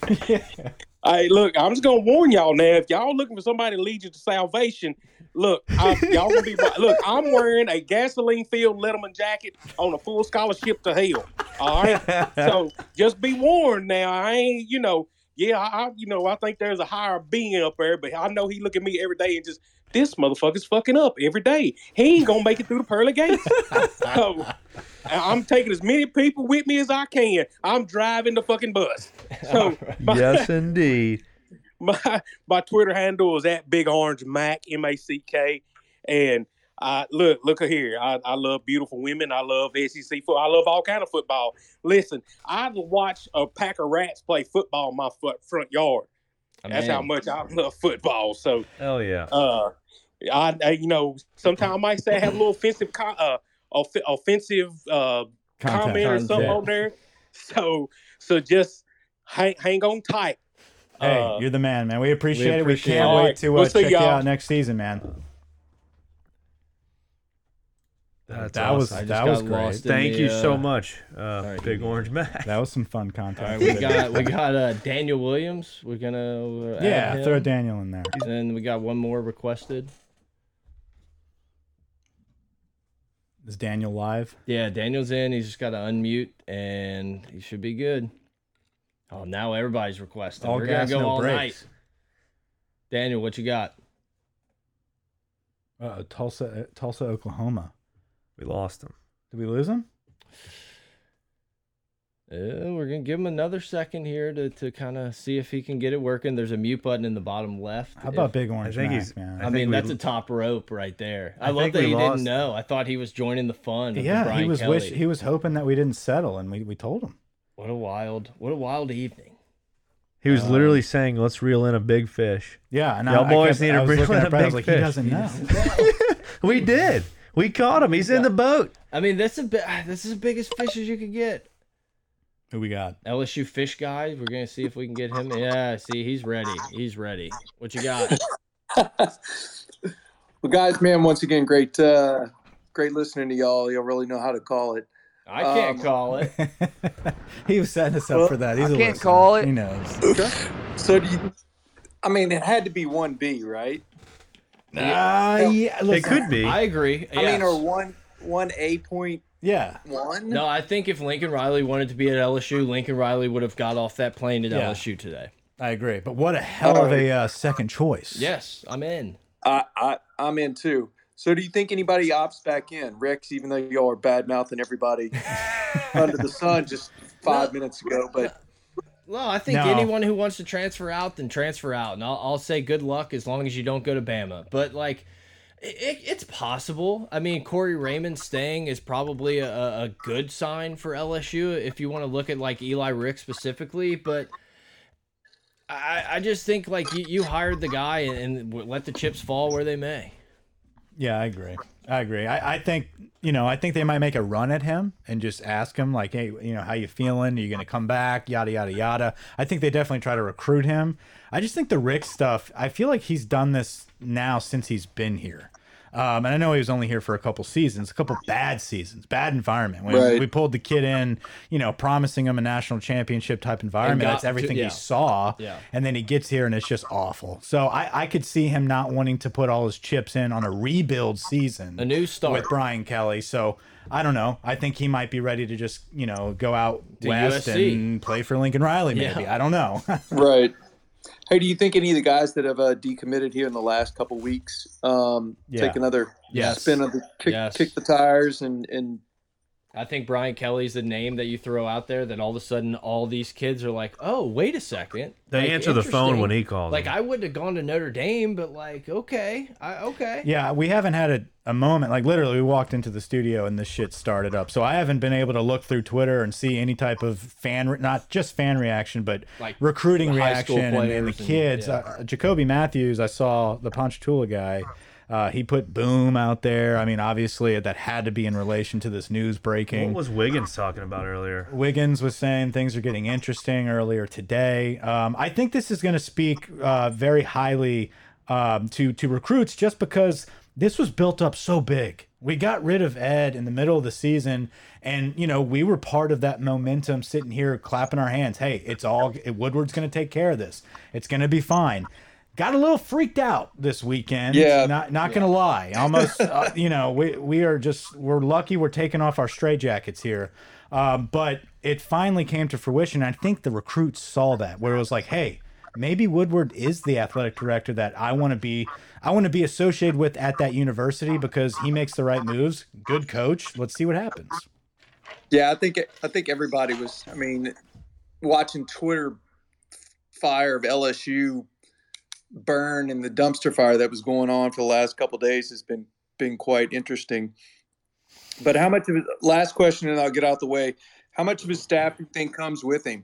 Speaker 1: Brazzers,
Speaker 5: Hey, look, I'm just gonna warn y'all now. If y'all looking for somebody to lead you to salvation, look, I, y'all gonna be look. I'm wearing a gasoline-filled Letterman jacket on a full scholarship to hell. All right, so just be warned now. I ain't, you know, yeah, I, I you know, I think there's a higher being up there, but I know he look at me every day and just this motherfucker's fucking up every day. He ain't gonna make it through the pearly gates. so I- I'm taking as many people with me as I can. I'm driving the fucking bus. So my-
Speaker 4: Yes, indeed.
Speaker 5: my my Twitter handle is at Big Orange Mac M A C K, and I look look here. I, I love beautiful women. I love SEC football. I love all kind of football. Listen, I'd watch a pack of rats play football in my front front yard. That's how much I love football. So,
Speaker 4: Hell yeah.
Speaker 5: uh, I, I you know sometimes I might say I have a little offensive co- uh, off- offensive uh
Speaker 1: content.
Speaker 5: comment or something
Speaker 1: Yeah.
Speaker 5: on there. So so just hang hang on tight.
Speaker 1: Hey,
Speaker 5: Uh,
Speaker 1: you're the man, man. We appreciate,
Speaker 3: appreciate
Speaker 1: it. We can't
Speaker 5: it.
Speaker 1: wait
Speaker 5: Alright,
Speaker 1: to uh,
Speaker 5: we'll see
Speaker 1: check you
Speaker 5: y'all.
Speaker 1: out next season, man.
Speaker 4: That's
Speaker 1: that was
Speaker 4: awesome.
Speaker 1: that
Speaker 3: got
Speaker 1: was great.
Speaker 3: lost in
Speaker 4: Thank
Speaker 3: the,
Speaker 4: you
Speaker 3: uh,
Speaker 4: so much, uh,
Speaker 3: right.
Speaker 4: Big Orange Mac.
Speaker 1: That was some fun content.
Speaker 3: All right, we got we got uh, Daniel Williams. We're gonna uh,
Speaker 1: yeah,
Speaker 3: add him.
Speaker 1: throw Daniel in there.
Speaker 3: And then we got one more requested.
Speaker 1: Is Daniel live?
Speaker 3: Yeah, Daniel's in. He's just got to unmute, and he should be good. Oh, now everybody's requesting.
Speaker 1: All
Speaker 3: We're
Speaker 1: gas,
Speaker 3: gonna go
Speaker 1: no
Speaker 3: all
Speaker 1: brakes.
Speaker 3: night. Daniel, what you got?
Speaker 1: Uh, Tulsa, uh, Tulsa, Oklahoma.
Speaker 4: We lost him.
Speaker 1: Did we lose him?
Speaker 3: Uh, we're gonna give him another second here to, to kind of see if he can get it working. There's a mute button in the bottom left.
Speaker 1: How about
Speaker 3: If-
Speaker 1: Big Orange
Speaker 4: think
Speaker 1: Mac,
Speaker 4: he's-
Speaker 1: man?
Speaker 4: I
Speaker 3: I,
Speaker 4: think
Speaker 3: mean,
Speaker 4: we-
Speaker 3: that's a top rope right there. I,
Speaker 4: I
Speaker 3: love
Speaker 4: think
Speaker 3: that
Speaker 4: we
Speaker 3: he
Speaker 4: lost.
Speaker 3: didn't know. I thought he was joining the fun. Of the
Speaker 1: yeah,
Speaker 3: Brian
Speaker 1: he was
Speaker 3: Kelly.
Speaker 1: wish he was hoping that we didn't settle, and we, we told him.
Speaker 3: What a wild, what a wild evening.
Speaker 4: He
Speaker 3: Uh,
Speaker 4: was literally saying, "Let's reel in a big fish."
Speaker 1: Yeah, and
Speaker 4: Y'all
Speaker 1: I, I
Speaker 4: boys
Speaker 1: kept,
Speaker 4: need to
Speaker 1: I was
Speaker 4: bring
Speaker 1: looking at
Speaker 4: in a
Speaker 1: Brad, I was
Speaker 4: big
Speaker 1: like, he doesn't
Speaker 4: fish.
Speaker 1: know.
Speaker 4: We did. We caught him. He's in the boat.
Speaker 3: I mean, that's a bi- this is the biggest fish as you could get.
Speaker 1: Who we got?
Speaker 3: LSU fish guy. We're gonna see if we can get him. Yeah, see, he's ready. He's ready. What you got?
Speaker 6: Well, guys, man, once again, great, uh, great listening to y'all. Y'all really know how to call it.
Speaker 3: I can't
Speaker 6: Um,
Speaker 3: call it.
Speaker 1: he was setting us up
Speaker 6: Well,
Speaker 1: for that.
Speaker 6: I
Speaker 1: He's a
Speaker 6: can't
Speaker 1: listener.
Speaker 6: call it.
Speaker 1: He knows.
Speaker 6: So, do you, I mean, it had to be one B, right?
Speaker 1: Ah, yeah,
Speaker 4: It
Speaker 1: listen,
Speaker 4: could be.
Speaker 3: I agree.
Speaker 6: I mean,
Speaker 3: yes.
Speaker 6: or one one A point
Speaker 1: Yeah,
Speaker 6: one.
Speaker 3: no, I think if Lincoln Riley wanted to be at LSU, Lincoln Riley would have got off that plane at
Speaker 1: Yeah.
Speaker 3: LSU today.
Speaker 1: I agree. But what a hell of a uh, second choice.
Speaker 3: Yes, I'm in.
Speaker 6: I, I I'm in too. So, do you think anybody opts back in, Rex? Even though y'all are bad mouthing everybody under the sun just five minutes ago, but
Speaker 3: Well, I think
Speaker 1: No.
Speaker 3: anyone who wants to transfer out, then transfer out, and I'll, I'll say good luck as long as you don't go to Bama. But like, it, it's possible. I mean, Corey Raymond staying is probably a, a a good sign for LSU if you want to look at like Eli Rick specifically. But I, I just think like you, you hired the guy and, and w- let the chips fall where they may.
Speaker 1: Yeah, I agree. I agree. I, I think you know. I think they might make a run at him and just ask him like, "Hey, you know, how you feeling? Are you going to come back? Yada yada yada." I think they definitely try to recruit him. I just think the Rick stuff. I feel like he's done this now since he's been here. Um, and I know he was only here for a couple seasons, a couple bad seasons, bad environment. When
Speaker 6: Right.
Speaker 1: we pulled the kid in, you know, promising him a national championship type environment.
Speaker 3: got-
Speaker 1: That's everything
Speaker 3: yeah.
Speaker 1: he saw.
Speaker 3: Yeah.
Speaker 1: And then he gets here and it's just awful. So I, I could see him not wanting to put all his chips in on a rebuild season
Speaker 3: A new start.
Speaker 1: with Brian Kelly. So I don't know. I think he might be ready to just, you know, go out
Speaker 3: To
Speaker 1: west
Speaker 3: USC.
Speaker 1: and play for Lincoln Riley, maybe.
Speaker 3: Yeah.
Speaker 1: I don't know.
Speaker 6: Right. Hey, do you think any of the guys that have uh, decommitted here in the last couple weeks um,
Speaker 1: Yeah.
Speaker 6: take another
Speaker 3: Yes.
Speaker 6: spin of the kick,
Speaker 3: Yes.
Speaker 6: kick the tires and and
Speaker 3: I think Brian Kelly's the name that you throw out there that all of a sudden all these kids are like, oh, wait a second.
Speaker 4: They
Speaker 3: Like,
Speaker 4: answer the phone
Speaker 3: interesting.
Speaker 4: when he calls.
Speaker 3: Like
Speaker 4: Like
Speaker 3: I wouldn't have gone to Notre Dame, but like okay, I, okay.
Speaker 1: Yeah, we haven't had a, a moment. Like literally, we walked into the studio and this shit started up. So I haven't been able to look through Twitter and see any type of fan, re- not just fan reaction, but
Speaker 3: Like,
Speaker 1: recruiting
Speaker 3: high school
Speaker 1: reaction and, and the
Speaker 3: players and-
Speaker 1: kids.
Speaker 3: yeah.
Speaker 1: Uh, Jacoby Matthews, I saw the Ponchatoula guy. Uh, he put boom out there. I mean, obviously that had to be in relation to this news breaking.
Speaker 4: what was Wiggins talking about earlier?
Speaker 1: Wiggins was saying things are getting interesting earlier today. Um, I think this is going to speak uh, very highly um, to to recruits just because this was built up so big. We got rid of Ed in the middle of the season, and you know we were part of that momentum, sitting here clapping our hands. Hey, it's all Woodward's going to take care of this. It's going to be fine. Got a little freaked out this weekend.
Speaker 6: Yeah.
Speaker 1: not not gonna lie. Almost, uh, you know, we we are just we're lucky we're taking off our stray jackets here. Um, but it finally came to fruition. I think the recruits saw that, where it was like, hey, maybe Woodward is the athletic director that I want to be. I want to be associated with at that university because he makes the right moves. Good coach. Let's see what happens.
Speaker 6: yeah, I think I think everybody was. I mean, watching Twitter fire of LSU burn and the dumpster fire that was going on for the last couple of days has been been quite interesting. But how much of his last question, and I'll get out the way. How much of his staff do you think comes with him?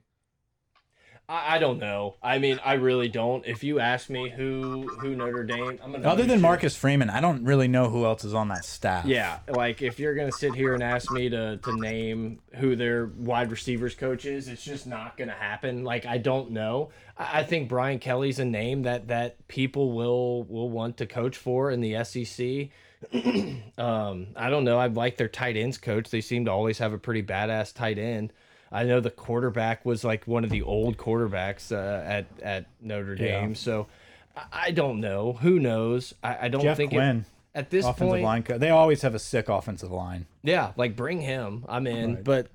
Speaker 3: I, I don't know. I mean, I really don't. If you ask me who who Notre Dame, I'm gonna
Speaker 1: Other
Speaker 3: know
Speaker 1: than
Speaker 3: you.
Speaker 1: Marcus Freeman, I don't really know who else is on that staff.
Speaker 3: Yeah, like if you're gonna sit here and ask me to to name who their wide receivers coach is, it's just not gonna happen. Like I don't know. I, I think Brian Kelly's a name that that people will will want to coach for in the SEC. um, I don't know. I like their tight ends coach. They seem to always have a pretty badass tight end. I know the quarterback was like one of the old quarterbacks uh, at at Notre
Speaker 1: Yeah.
Speaker 3: Dame. So I, I don't know. Who knows? I, I don't
Speaker 1: Jeff
Speaker 3: think it-
Speaker 1: Quinn,
Speaker 3: at this
Speaker 1: offensive
Speaker 3: point.
Speaker 1: line. Co they always have a sick offensive line.
Speaker 3: Yeah, like bring him. I'm in. But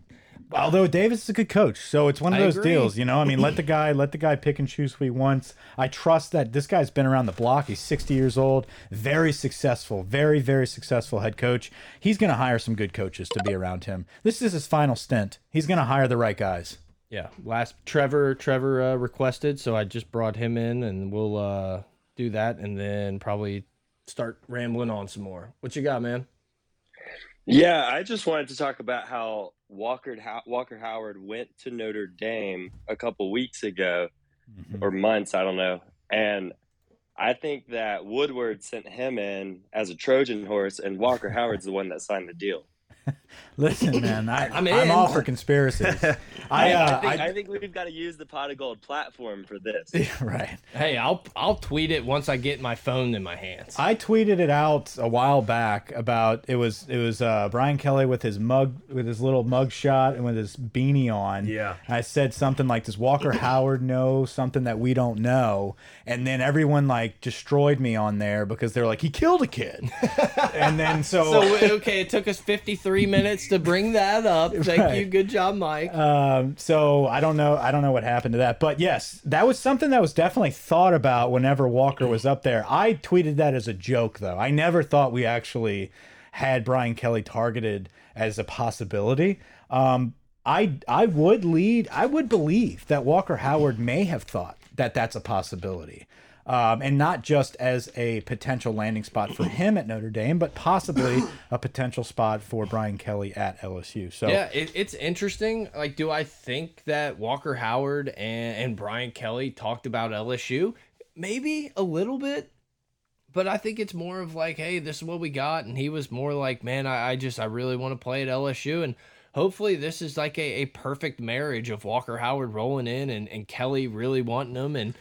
Speaker 1: Although Davis is a good coach, so it's one of
Speaker 3: I
Speaker 1: those
Speaker 3: agree.
Speaker 1: deals, you know. I mean, let the guy let the guy pick and choose who he wants. I trust that this guy's been around the block. He's 60 years old, very successful, very very successful head coach. He's going to hire some good coaches to be around him. This is his final stint. He's going to hire the right guys.
Speaker 3: yeah, last Trevor Trevor uh, requested, so I just brought him in, and we'll uh, do that, and then probably start rambling on some more. What you got, man?
Speaker 7: Yeah, I just wanted to talk about how Walker How- Walker Howard went to Notre Dame a couple weeks ago or
Speaker 1: Mm-hmm.
Speaker 7: months, I don't know. And I think that Woodward sent him in as a Trojan horse, and Walker Howard's the one that signed the deal.
Speaker 1: Listen, man, I, I'm,
Speaker 3: I'm in.
Speaker 1: all for conspiracies. I, uh,
Speaker 7: I, think,
Speaker 1: I-
Speaker 7: I think we've got to use the pot of gold platform for this.
Speaker 1: right.
Speaker 3: Hey, I'll I'll tweet it once I get my phone in my hands.
Speaker 1: I tweeted it out a while back about it was it was uh, Brian Kelly with his mug with his little mug shot and with his beanie on.
Speaker 4: Yeah.
Speaker 1: I said something like, "Does Walker Howard know something that we don't know?" And then everyone like destroyed me on there because they're like, "He killed a kid," and then
Speaker 3: so okay, it took us 53 minutes to bring that up. Thank
Speaker 1: Right.
Speaker 3: you. Good job, Mike.
Speaker 1: Um, so I don't know. I don't know what happened to that, but yes, that was something that was definitely thought about whenever Walker was up there. I tweeted that as a joke, though. I never thought we actually had Brian Kelly targeted as a possibility. Um, I I would lead I would believe that Walker Howard may have thought that that's a possibility, um, and not just as a potential landing spot for him at Notre Dame, but possibly a potential spot for Brian Kelly at LSU. So
Speaker 3: Yeah, it, it's interesting. Like, do I think that Walker Howard and, and Brian Kelly talked about LSU? Maybe a little bit, but I think it's more of like, hey, this is what we got. And he was more like, man, I, I just, I really want to play at LSU. And hopefully this is like a, a perfect marriage of Walker Howard rolling in and, and Kelly really wanting him. And,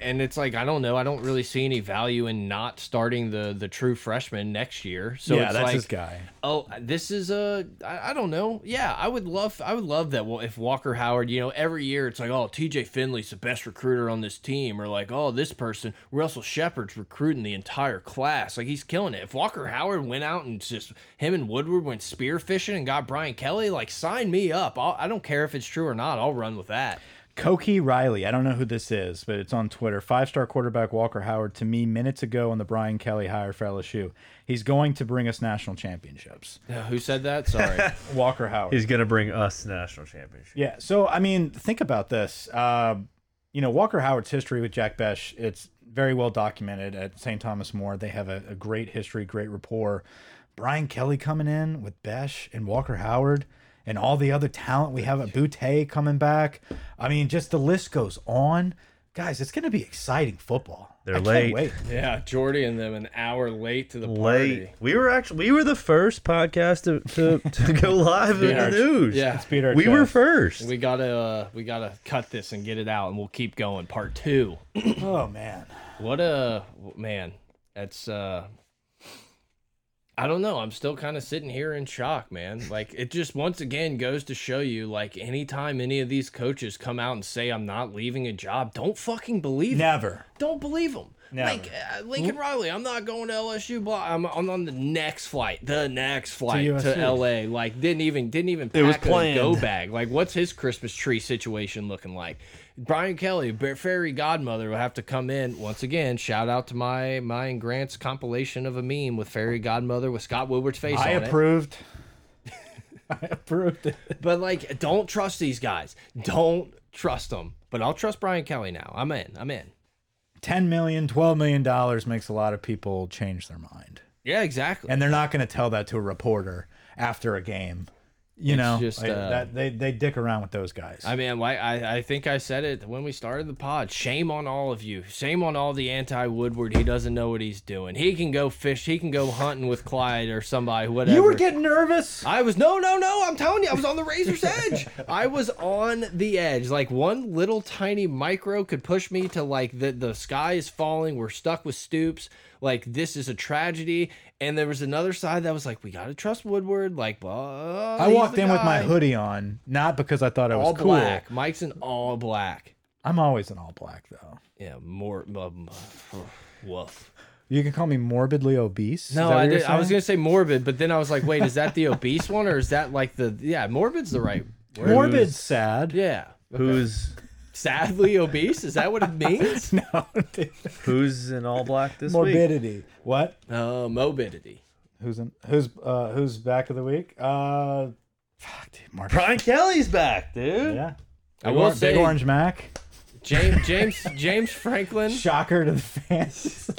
Speaker 3: and it's like I don't know. I don't really see any value in not starting the the true freshman next year. So
Speaker 1: yeah,
Speaker 3: it's
Speaker 1: that's
Speaker 3: like,
Speaker 1: his guy.
Speaker 3: Oh, this is a I, I don't know. Yeah, I would love I would love that. Well, if Walker Howard, you know, every year it's like, oh, T.J. Finley's the best recruiter on this team, or like, oh, this person Russell Shepard's recruiting the entire class, like he's killing it. If Walker Howard went out and just him and Woodward went spear fishing and got Brian Kelly, like sign me up. I'll, I don't care if it's true or not. I'll run with that.
Speaker 1: Koki Riley, I don't know who this is, but it's on Twitter. Five star quarterback Walker Howard to me minutes ago on the Brian Kelly hire for LSU. He's going to bring us national championships.
Speaker 3: Uh, who said that? Sorry.
Speaker 1: Walker Howard.
Speaker 4: He's gonna bring us the national championship.
Speaker 1: Yeah. So I mean, think about this. Uh, you know, Walker Howard's history with Jack Besh, it's very well documented at St. Thomas More. They have a, a great history, great rapport. Brian Kelly coming in with Besh and Walker Howard and all the other talent we have at Boutte coming back. I mean, just the list goes on. Guys, it's going to be exciting football.
Speaker 4: They're
Speaker 1: I can't
Speaker 4: late.
Speaker 1: wait.
Speaker 3: yeah, Jordy and them an hour late to the
Speaker 4: Late. We were actually we were the first podcast to, to, to go live in the
Speaker 3: Yeah.
Speaker 4: news.
Speaker 3: Yeah.
Speaker 1: Peter,
Speaker 4: We were first.
Speaker 3: We gotta uh, we gotta cut this and get it out, and we'll keep going. Part two.
Speaker 1: Oh man,
Speaker 3: What a man. That's uh, I don't know. I'm still kind of sitting here in shock, man. Like it just once again goes to show you, like anytime any of these coaches come out and say I'm not leaving a job, don't fucking believe it
Speaker 1: never.
Speaker 3: don't believe him.
Speaker 1: Never.
Speaker 3: Like uh, Lincoln Riley, I'm not going to LSU. Blah. I'm, I'm on the next flight, the next flight to,
Speaker 1: USC.
Speaker 3: LA. Like didn't even didn't even pack
Speaker 4: It was
Speaker 3: a
Speaker 4: planned.
Speaker 3: go bag. Like what's his Christmas tree situation looking like? Brian Kelly, Bear- fairy godmother, will have to come in once again. Shout out to my my and Grant's compilation of a meme with fairy godmother with Scott Woodward's face
Speaker 1: I
Speaker 3: on it.
Speaker 1: approved. I approved it.
Speaker 3: But like, don't trust these guys. Don't trust them. But I'll trust Brian Kelly now. I'm in. I'm in.
Speaker 1: 10 million, 12 million dollars makes a lot of people change their mind.
Speaker 3: Yeah, exactly.
Speaker 1: and they're not going to tell that to a reporter after a game. You know,
Speaker 3: just,
Speaker 1: Like,
Speaker 3: uh,
Speaker 1: that, they they dick around with those guys.
Speaker 3: I mean, like I, I think I said it when we started the pod. Shame on all of you. Shame on all the anti Woodward. He doesn't know what he's doing. He can go fish. He can go hunting with Clyde or somebody. Whatever.
Speaker 1: you were getting nervous.
Speaker 3: I was no, no, no. I'm telling you, I was on the razor's edge. I was on the edge. Like one little tiny micro could push me to like the the sky is falling. We're stuck with Stoops. Like this is a tragedy. And there was another side that was like, we gotta trust Woodward. Like, blah.
Speaker 1: I
Speaker 3: he's
Speaker 1: walked
Speaker 3: the
Speaker 1: in with my
Speaker 3: guy.
Speaker 1: hoodie on, not because I thought I was
Speaker 3: all
Speaker 1: cool.
Speaker 3: black. Mike's an all black.
Speaker 1: I'm always in all black though.
Speaker 3: Yeah, more. Um, woof.
Speaker 1: You can call me morbidly obese. Is
Speaker 3: No,
Speaker 1: that what
Speaker 3: I
Speaker 1: you're
Speaker 3: did. I was
Speaker 1: saying?
Speaker 3: gonna say morbid, but then I was like, wait, is that the obese one or is that like the yeah? Morbid's the right. Word.
Speaker 1: morbid sad.
Speaker 3: Yeah.
Speaker 4: Who's
Speaker 3: Sadly obese. Is that what it means?
Speaker 1: No, dude.
Speaker 4: who's in all black this week?
Speaker 1: morbidity. What?
Speaker 3: Uh, morbidity.
Speaker 1: Who's in? Who's uh? Who's back of the week? Uh, fuck, dude. Mark.
Speaker 4: Brian Kelly's back, dude.
Speaker 1: Yeah.
Speaker 3: I
Speaker 1: Big
Speaker 3: will
Speaker 1: Or-
Speaker 3: say,
Speaker 1: Big Orange Mac.
Speaker 3: James James James Franklin.
Speaker 1: Shocker to the fans.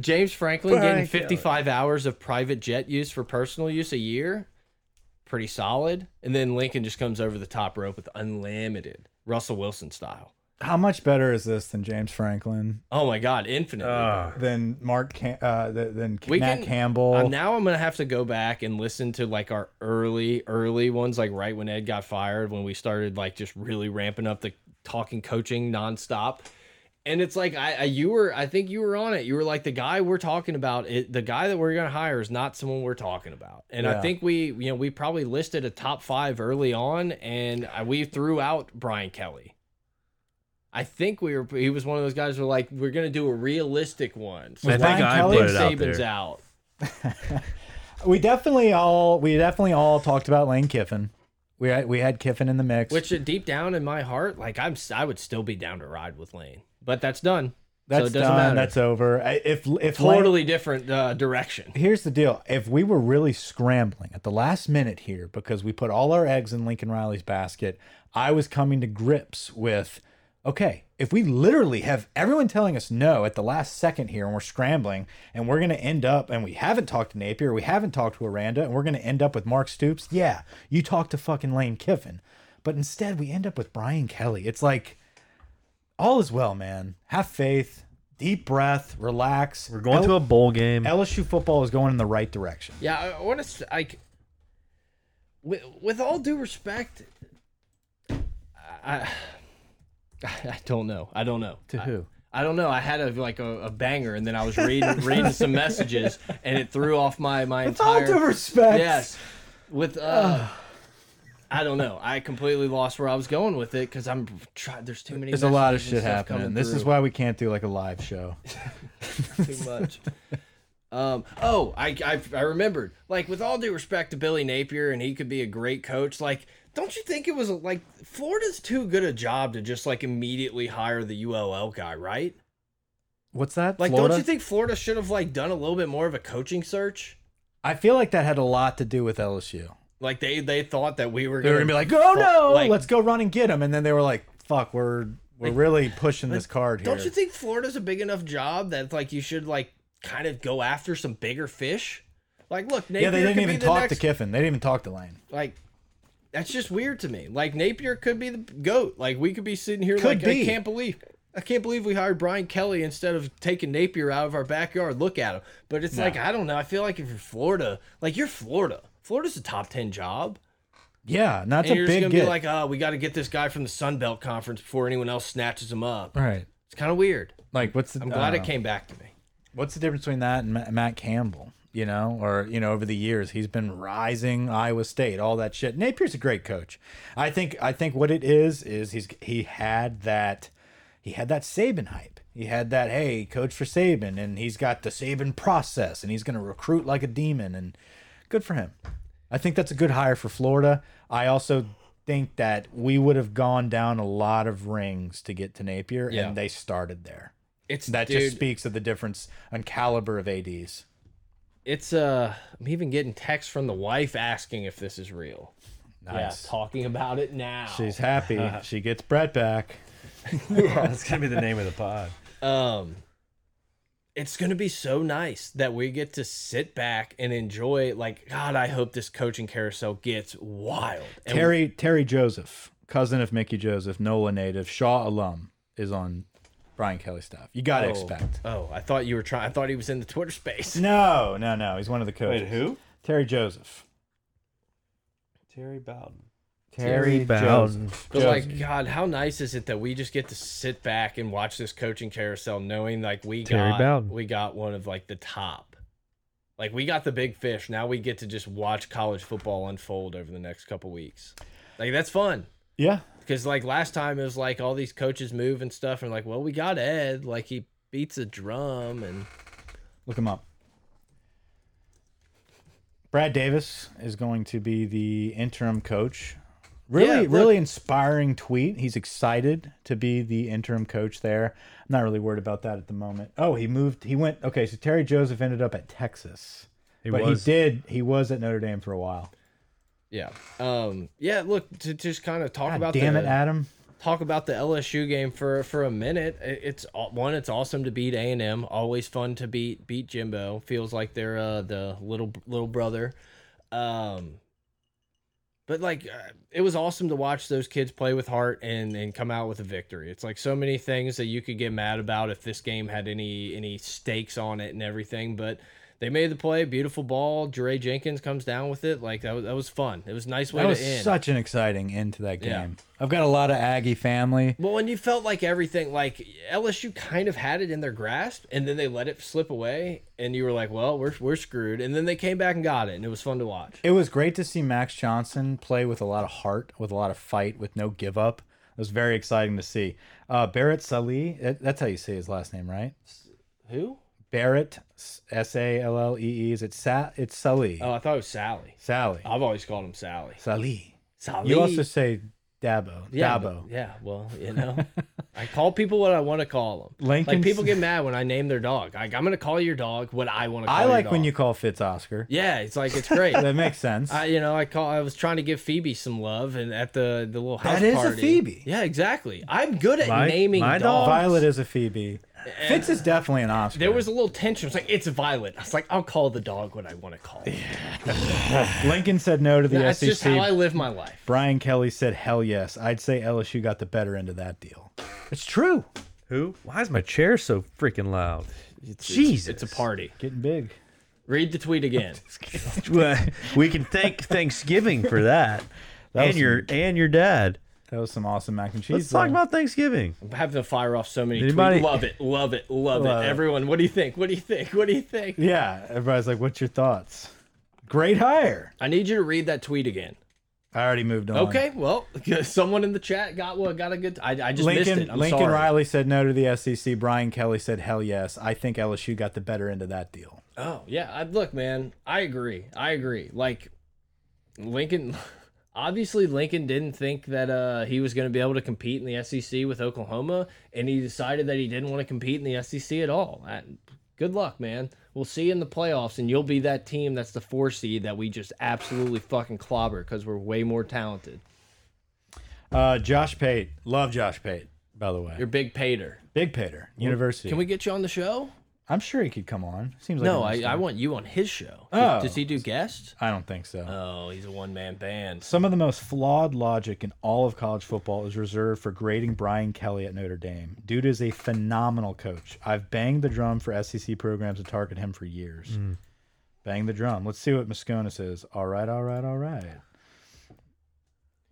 Speaker 3: James Franklin getting
Speaker 4: Frank
Speaker 3: 55 hours of private jet use for personal use a year. Pretty solid. And then Lincoln just comes over the top rope with unlimited Russell Wilson style.
Speaker 1: How much better is this than James Franklin?
Speaker 3: Oh my God, infinitely.
Speaker 4: Ah.
Speaker 1: than Mark Cam uh, th- than
Speaker 3: We
Speaker 1: Nat
Speaker 3: can-
Speaker 1: Campbell.
Speaker 3: Uh, now I'm gonna have to go back and listen to like our early, early ones, like right when Ed got fired, when we started like just really ramping up the talking coaching nonstop. And it's like I, I you were, I think you were on it. You were like the guy we're talking about. It, the guy that we're gonna hire is not someone we're talking about. And
Speaker 1: Yeah.
Speaker 3: I think we, you know, we probably listed a top five early on, and I, we threw out Brian Kelly. I think we were. He was one of those guys who were like, we're gonna do a realistic one. So
Speaker 1: Was
Speaker 4: I
Speaker 1: Brian
Speaker 4: think I
Speaker 1: Kelly?
Speaker 4: put
Speaker 3: Nick
Speaker 4: it out
Speaker 3: Saban's
Speaker 4: there.
Speaker 3: out.
Speaker 1: we definitely all we definitely all talked about Lane Kiffin. We had, we had Kiffin in the mix.
Speaker 3: Which uh, deep down in my heart, like I'm, s- I would still be down to ride with Lane, but that's done.
Speaker 1: That's
Speaker 3: doesn't
Speaker 1: done.
Speaker 3: matter.
Speaker 1: That's over. I- If if Lan-
Speaker 3: Totally different uh, direction.
Speaker 1: here's the deal: if we were really scrambling at the last minute here because we put all our eggs in Lincoln Riley's basket, I was coming to grips with, okay, if we literally have everyone telling us no at the last second here, and we're scrambling, and we're going to end up, and we haven't talked to Napier, we haven't talked to Aranda, and we're going to end up with Mark Stoops. Yeah, you talk to fucking Lane Kiffin, but instead we end up with Brian Kelly. It's like all is well, man. Have faith. Deep breath, relax.
Speaker 4: We're going to a bowl game.
Speaker 1: LSU football is going in the right direction.
Speaker 3: Yeah, I, I want to like. With, with all due respect, I, I I don't know. I don't know
Speaker 1: To who?
Speaker 3: I, I don't know. I had a like a, a banger, and then I was reading reading some messages, and it threw off my my
Speaker 1: With all
Speaker 3: entire.
Speaker 1: due respect.
Speaker 3: Yes, with uh, I don't know. I completely lost where I was going with it because I'm trying. There's too many.
Speaker 1: There's a lot of
Speaker 3: messages and
Speaker 1: shit
Speaker 3: stuff coming
Speaker 1: happening. This is
Speaker 3: through.
Speaker 1: why we can't do like a live show.
Speaker 3: too much. Um, oh, I, I I remembered. Like with all due respect to Billy Napier, and he could be a great coach. Like, don't you think it was like Florida's too good a job to just like immediately hire the ULL guy, right?
Speaker 1: What's that?
Speaker 3: Like,
Speaker 1: Florida?
Speaker 3: don't you think Florida should have like done a little bit more of a coaching search?
Speaker 1: I feel like that had a lot to do with LSU.
Speaker 3: Like they they thought that we were
Speaker 1: They were
Speaker 3: gonna,
Speaker 1: gonna be like, "Oh no,
Speaker 3: like-
Speaker 1: let's go run and get him," and then they were like, "Fuck, we're we're really pushing this card here."
Speaker 3: Don't you think Florida's a big enough job that like you should like kind of go after some bigger fish? Like, look, Napier
Speaker 1: yeah, they
Speaker 3: could
Speaker 1: didn't
Speaker 3: be
Speaker 1: even
Speaker 3: the
Speaker 1: talk
Speaker 3: next
Speaker 1: to Kiffin. They didn't even talk to Lane.
Speaker 3: like that's just weird to me. Like Napier could be the goat. Like we could be sitting here
Speaker 1: Could
Speaker 3: like
Speaker 1: be.
Speaker 3: I can't believe I can't believe we hired Brian Kelly instead of taking Napier out of our backyard. Look at him. But it's like I don't know. I feel like if you're Florida, like you're Florida. Florida's a top ten job.
Speaker 1: Yeah, not
Speaker 3: and
Speaker 1: a
Speaker 3: you're just
Speaker 1: big
Speaker 3: gonna
Speaker 1: get.
Speaker 3: be like, oh, we gotta get this guy from the Sun Belt conference before anyone else snatches him up.
Speaker 1: right?
Speaker 3: It's kinda weird.
Speaker 1: Like, what's the? uh,
Speaker 3: I'm
Speaker 1: I
Speaker 3: glad
Speaker 1: don't
Speaker 3: it
Speaker 1: know.
Speaker 3: came back to me.
Speaker 1: What's the difference between that and Ma- Matt Campbell? You know, or you know, over the years he's been rising Iowa State, all that shit. Napier's a great coach. I think. I think what it is is he's he had that he had that Saban hype. He had that hey, coach for Saban, and he's got the Saban process, and he's going to recruit like a demon, and good for him. I think that's a good hire for Florida. I also think that we would have gone down a lot of rings to get to Napier,
Speaker 3: Yeah.
Speaker 1: and they started there.
Speaker 3: It's
Speaker 1: That
Speaker 3: dude,
Speaker 1: just speaks of the difference on caliber of ads.
Speaker 3: it's uh I'm even getting texts from the wife asking if this is real.
Speaker 1: Nice.
Speaker 3: Yeah, talking about it now.
Speaker 1: She's happy. she gets Brett back.
Speaker 4: That's gonna be the name of the pod.
Speaker 3: um it's going to be so nice that we get to sit back and enjoy like god i hope this coaching carousel gets wild and
Speaker 1: Terry Terry Joseph, cousin of Mickey Joseph, NOLA native, Shaw alum, is on Brian Kelly staff. You gotta
Speaker 3: oh,
Speaker 1: expect.
Speaker 3: oh i thought you were trying i thought he was in the twitter space
Speaker 1: No, no, no. He's one of the coaches. Terry Joseph.
Speaker 4: Terry Bowden.
Speaker 1: Terry
Speaker 4: Bowden.
Speaker 3: but like god how nice is it that we just get to sit back and watch this coaching carousel knowing like we
Speaker 4: Terry
Speaker 3: got
Speaker 4: Bowden.
Speaker 3: we got one of like the top like we got the big fish now we get to just watch college football unfold over the next couple weeks like that's fun
Speaker 1: Yeah.
Speaker 3: Because like last time it was like all these coaches move and stuff, and like, well, we got Ed, like he beats a drum, and
Speaker 1: Look him up. Brad Davis is going to be the interim coach.
Speaker 3: Yeah,
Speaker 1: Really,
Speaker 3: look-
Speaker 1: really inspiring tweet. He's excited to be the interim coach there. I'm not really worried about that at the moment. Oh, he moved. He went. Okay, so Terry Joseph ended up at Texas,
Speaker 4: He
Speaker 1: but
Speaker 4: was.
Speaker 1: he did. He was at Notre Dame for a while.
Speaker 3: yeah, um, yeah. Look, to just kind of talk
Speaker 1: God
Speaker 3: about
Speaker 1: damn
Speaker 3: the,
Speaker 1: it, Adam.
Speaker 3: talk about the LSU game for for a minute. It- It's aw- one, it's awesome to beat A and M. Always fun to beat beat Jimbo. Feels like they're uh, the little little brother. Um, but like, uh, it was awesome to watch those kids play with heart and and come out with a victory. It's like so many things that you could get mad about if this game had any any stakes on it and everything, but. They made the play, beautiful ball. Jere Jenkins comes down with it. Like that was, that was fun. It was a nice way
Speaker 1: That was
Speaker 3: to end.
Speaker 1: such an exciting end to that game.
Speaker 3: Yeah.
Speaker 1: I've got a lot of Aggie family.
Speaker 3: Well, and you felt like everything, like LSU kind of had it in their grasp, and then they let it slip away, and you were like, "Well, we're we're screwed." And then they came back and got it, and it was fun to watch.
Speaker 1: It was great to see Max Johnson play with a lot of heart, with a lot of fight, with no give up. It was very exciting to see. Uh, Barrett Salih, that- that's how you say his last name, right?
Speaker 3: Who?
Speaker 1: Barrett, S A L L E E. Is it Sa? It's Salih.
Speaker 3: Oh, I thought it was Sally.
Speaker 1: Sally.
Speaker 3: I've always called him Sally.
Speaker 1: Salih.
Speaker 3: Sally.
Speaker 1: You also say Dabo.
Speaker 3: yeah,
Speaker 1: Dabo.
Speaker 3: but- Yeah. Well, you know, I call people what I want to call them.
Speaker 1: Lincoln's-
Speaker 3: Like people get mad when I name their dog. Like I'm gonna call your dog what I want to. call
Speaker 1: I
Speaker 3: your
Speaker 1: like when
Speaker 3: dog.
Speaker 1: you call Fitz Oscar.
Speaker 3: Yeah, it's like it's great.
Speaker 1: That makes sense.
Speaker 3: I, you know, I call. I was trying to give Phoebe some love, and at the the little house
Speaker 1: That is a
Speaker 3: party.
Speaker 1: Phoebe.
Speaker 3: Yeah, exactly. I'm good at
Speaker 4: My-
Speaker 3: naming
Speaker 4: my
Speaker 3: dogs.
Speaker 4: dog?
Speaker 1: Violet is a Phoebe. Fitz is definitely an Oscar.
Speaker 3: Eh, There was a little tension. It's like it's Violet. I was like, I'll call the dog what I want to call. It.
Speaker 1: Lincoln said no to the E
Speaker 3: That's
Speaker 1: SEC.
Speaker 3: just how I live my life.
Speaker 1: Brian Kelly said hell yes. I'd say LSU got the better end of that deal. It's true.
Speaker 4: Who? Why is my chair so freaking loud? Jesus.
Speaker 3: It's a party.
Speaker 1: Getting big.
Speaker 3: Read the tweet again.
Speaker 4: Well, we can thank Thanksgiving for that. and
Speaker 1: was-
Speaker 4: your and your dad.
Speaker 1: That was some awesome mac and cheese.
Speaker 4: Let's talk
Speaker 1: though.
Speaker 4: about Thanksgiving.
Speaker 3: I'm having to fire off so many
Speaker 4: Anybody-
Speaker 3: tweets. Love it, love it, love
Speaker 1: Love it.
Speaker 3: it. Everyone, what do you think? What do you think? What do you think?
Speaker 1: Yeah, everybody's like, "What's your thoughts?" Great hire.
Speaker 3: I need you to read that tweet again.
Speaker 1: I already moved on.
Speaker 3: Okay, well, someone in the chat got what got a good. I, I just missed
Speaker 1: Lincoln
Speaker 3: it. I'm
Speaker 1: Lincoln
Speaker 3: sorry.
Speaker 1: Riley said no to the SEC. Brian Kelly said hell yes. I think LSU got the better end of that deal.
Speaker 3: Oh yeah, I, look, man, I agree. I agree. Like Lincoln, obviously Lincoln didn't think that uh, he was going to be able to compete in the SEC with Oklahoma, and he decided that he didn't want to compete in the SEC at all. I, good luck, man. We'll see you in the playoffs, and you'll be that team that's the four seed that we just absolutely fucking clobber because we're way more talented.
Speaker 1: Uh, Josh Pate, love Josh Pate, by the way.
Speaker 3: You're big pater.
Speaker 1: Big Pater, University.
Speaker 3: Can we get you on the show?
Speaker 1: I'm sure he could come on. Seems like
Speaker 3: No,
Speaker 1: a
Speaker 3: I,
Speaker 1: nice
Speaker 3: I
Speaker 1: guy.
Speaker 3: want you on his show.
Speaker 1: Oh.
Speaker 3: Does he do guests?
Speaker 1: I don't think so.
Speaker 3: Oh, he's a one man band.
Speaker 1: Some of the most flawed logic in all of college football is reserved for grading Brian Kelly at Notre Dame. Dude is a phenomenal coach. I've banged the drum for SEC programs to target him for years. Bang the drum. Let's see what Moscona says. All right, all right, all right.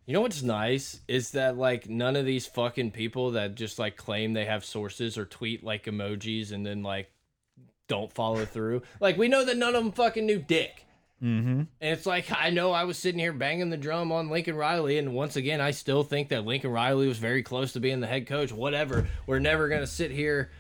Speaker 3: You know what's nice is that like none of these fucking people that just like claim they have sources or tweet like emojis and then like don't follow through. Like we know that none of them fucking knew dick.
Speaker 1: Mm-hmm.
Speaker 3: And it's like I know I was sitting here banging the drum on Lincoln Riley, and once again I still think that Lincoln Riley was very close to being the head coach. Whatever, we're never gonna sit here.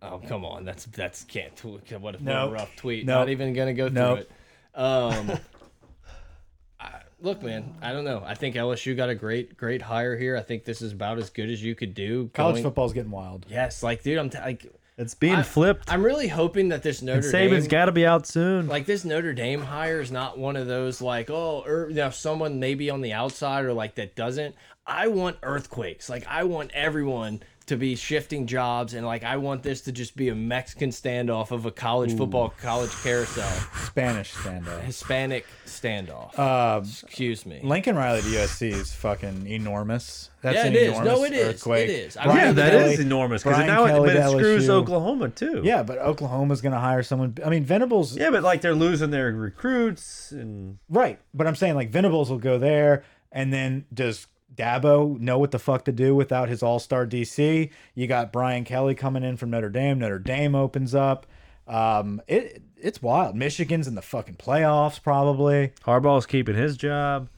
Speaker 3: Oh come on, that's that's can't what a
Speaker 1: Nope.
Speaker 3: rough tweet.
Speaker 1: Nope.
Speaker 3: Not even gonna go through
Speaker 1: Nope.
Speaker 3: it. Um, I- look, man, I don't know. I think LSU got a great great hire here. I think this is about as good as you could do.
Speaker 1: College
Speaker 3: going-
Speaker 1: football's getting wild.
Speaker 3: Yes, like dude, I'm t like
Speaker 4: It's being
Speaker 3: I-
Speaker 4: flipped.
Speaker 3: I'm really hoping that this Notre Dame
Speaker 4: Saban's got to be out soon.
Speaker 3: like this Notre Dame hire is not one of those like oh er, you know, someone maybe on the outside or like that doesn't. I want earthquakes. Like I want everyone to be shifting jobs and like I want this to just be a Mexican standoff of a college football college carousel,
Speaker 1: Spanish standoff.
Speaker 3: Hispanic standoff.
Speaker 1: Uh,
Speaker 3: Excuse me.
Speaker 1: Lincoln Riley to USC is fucking enormous. That's
Speaker 3: Yeah,
Speaker 1: an
Speaker 3: it is.
Speaker 1: enormous
Speaker 3: No, it is. It
Speaker 1: earthquake.
Speaker 3: is. I
Speaker 1: Brian
Speaker 4: yeah,
Speaker 3: Brian
Speaker 4: that is
Speaker 1: Kelly-
Speaker 4: enormous because
Speaker 1: Brian
Speaker 4: now it,
Speaker 1: Kelly
Speaker 4: but it
Speaker 1: to
Speaker 4: screws
Speaker 1: LSU.
Speaker 4: Oklahoma too.
Speaker 1: Yeah, but Oklahoma's going to hire someone. I mean, Venables
Speaker 4: yeah, but like they're losing their recruits and
Speaker 1: Right. But I'm saying like Venables will go there and then does Dabo know what the fuck to do without his all-star DC? You got Brian Kelly coming in from Notre Dame. Notre Dame opens up. Um it it's wild. Michigan's in the fucking playoffs probably.
Speaker 4: Harbaugh's keeping his job.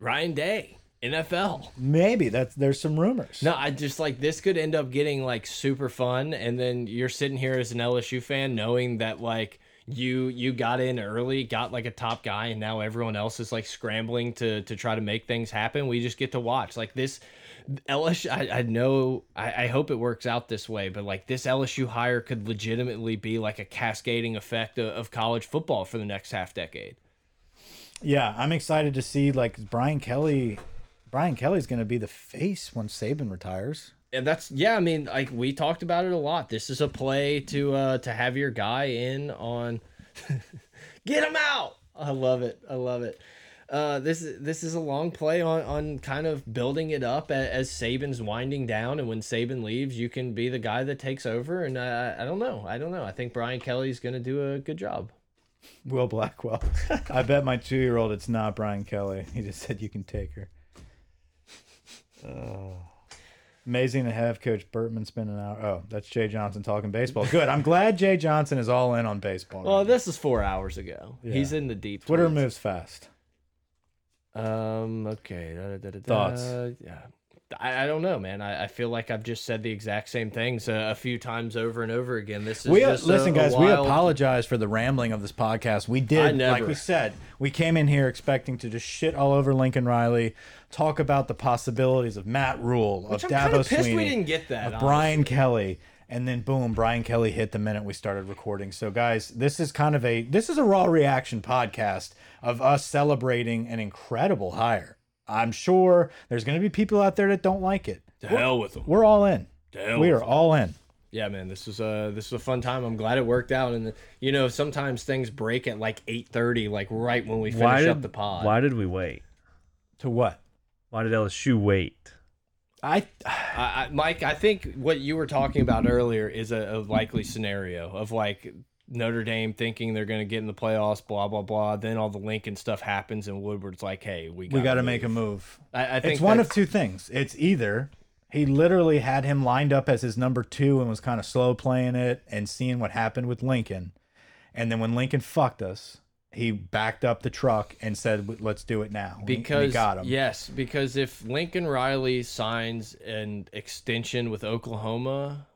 Speaker 3: Ryan Day, NFL.
Speaker 1: Maybe that's there's some rumors.
Speaker 3: No, I just like this could end up getting like super fun, and then you're sitting here as an LSU fan, knowing that like you you got in early, got like a top guy, and now everyone else is like scrambling to to try to make things happen. We just get to watch like this LSU. I, I know I, I hope it works out this way, but like this LSU hire could legitimately be like a cascading effect of, of college football for the next half decade.
Speaker 1: Yeah, I'm excited to see like Brian Kelly Brian Kelly's going to be the face when Saban retires.
Speaker 3: and that's yeah i mean like we talked about it a lot this is a play to uh to have your guy in on get him out i love it i love it uh this this is a long play on on kind of building it up as, as saban's winding down and when saban leaves you can be the guy that takes over and i i don't know i don't know i think brian kelly's gonna do a good job
Speaker 1: Will Blackwell. I bet my 2-year-old it's not Brian Kelly. He just said you can take her.
Speaker 3: Uh.
Speaker 1: Amazing to have Coach Burtman spend an hour. Oh, that's Jay Johnson talking baseball. Good. I'm glad Jay Johnson is all in on baseball.
Speaker 3: well this is four hours ago he's in the deep
Speaker 1: Twitter
Speaker 3: tweets.
Speaker 1: moves fast.
Speaker 3: Um. Okay. Da, da, da, da, da.
Speaker 1: Thoughts?
Speaker 3: Yeah. I, I don't know, man. I, I feel like I've just said the exact same things uh, a few times over and over again. This is
Speaker 1: we uh,
Speaker 3: just a-
Speaker 1: listen,
Speaker 3: a
Speaker 1: guys. We
Speaker 3: wild-
Speaker 1: apologize for the rambling of this podcast. We did,
Speaker 3: I never-
Speaker 1: like we said, we came in here expecting to just shit all over Lincoln Riley, talk about the possibilities of Matt Rule, of
Speaker 3: I'm kinda
Speaker 1: Dabo
Speaker 3: pissed we
Speaker 1: Sweeney,
Speaker 3: didn't get that,
Speaker 1: of Brian Kelly, and then boom, Brian Kelly hit the minute we started recording. So, guys, this is kind of a this is a raw reaction podcast of us celebrating an incredible hire. I'm sure there's going to be people out there that don't like it.
Speaker 3: To hell with them.
Speaker 1: We're all in.
Speaker 3: hell
Speaker 1: we
Speaker 3: with
Speaker 1: are all in.
Speaker 3: Yeah, man, this was a this was a fun time. I'm glad it worked out. And you know, sometimes things break at like 8:30, like right when we finish
Speaker 4: Why
Speaker 3: up
Speaker 4: did
Speaker 3: the pod.
Speaker 4: Why did we wait?
Speaker 1: To what?
Speaker 4: Why did LSU wait?
Speaker 1: I
Speaker 3: I, I, Mike, I think what you were talking about earlier is a, a likely scenario of like Notre Dame thinking they're going to get in the playoffs, blah blah blah. Then all the Lincoln stuff happens, and Woodward's like, "Hey, we gotta
Speaker 1: we got to
Speaker 3: move.
Speaker 1: make a move.
Speaker 3: I, I think
Speaker 1: it's one of
Speaker 3: that's-
Speaker 1: two things. It's either he literally had him lined up as his number two and was kind of slow playing it and seeing what happened with Lincoln. And then when Lincoln fucked us, he backed up the truck and said, let's do it now. And he- and he
Speaker 3: because
Speaker 1: got him.
Speaker 3: yes, because if Lincoln Riley signs an extension with Oklahoma,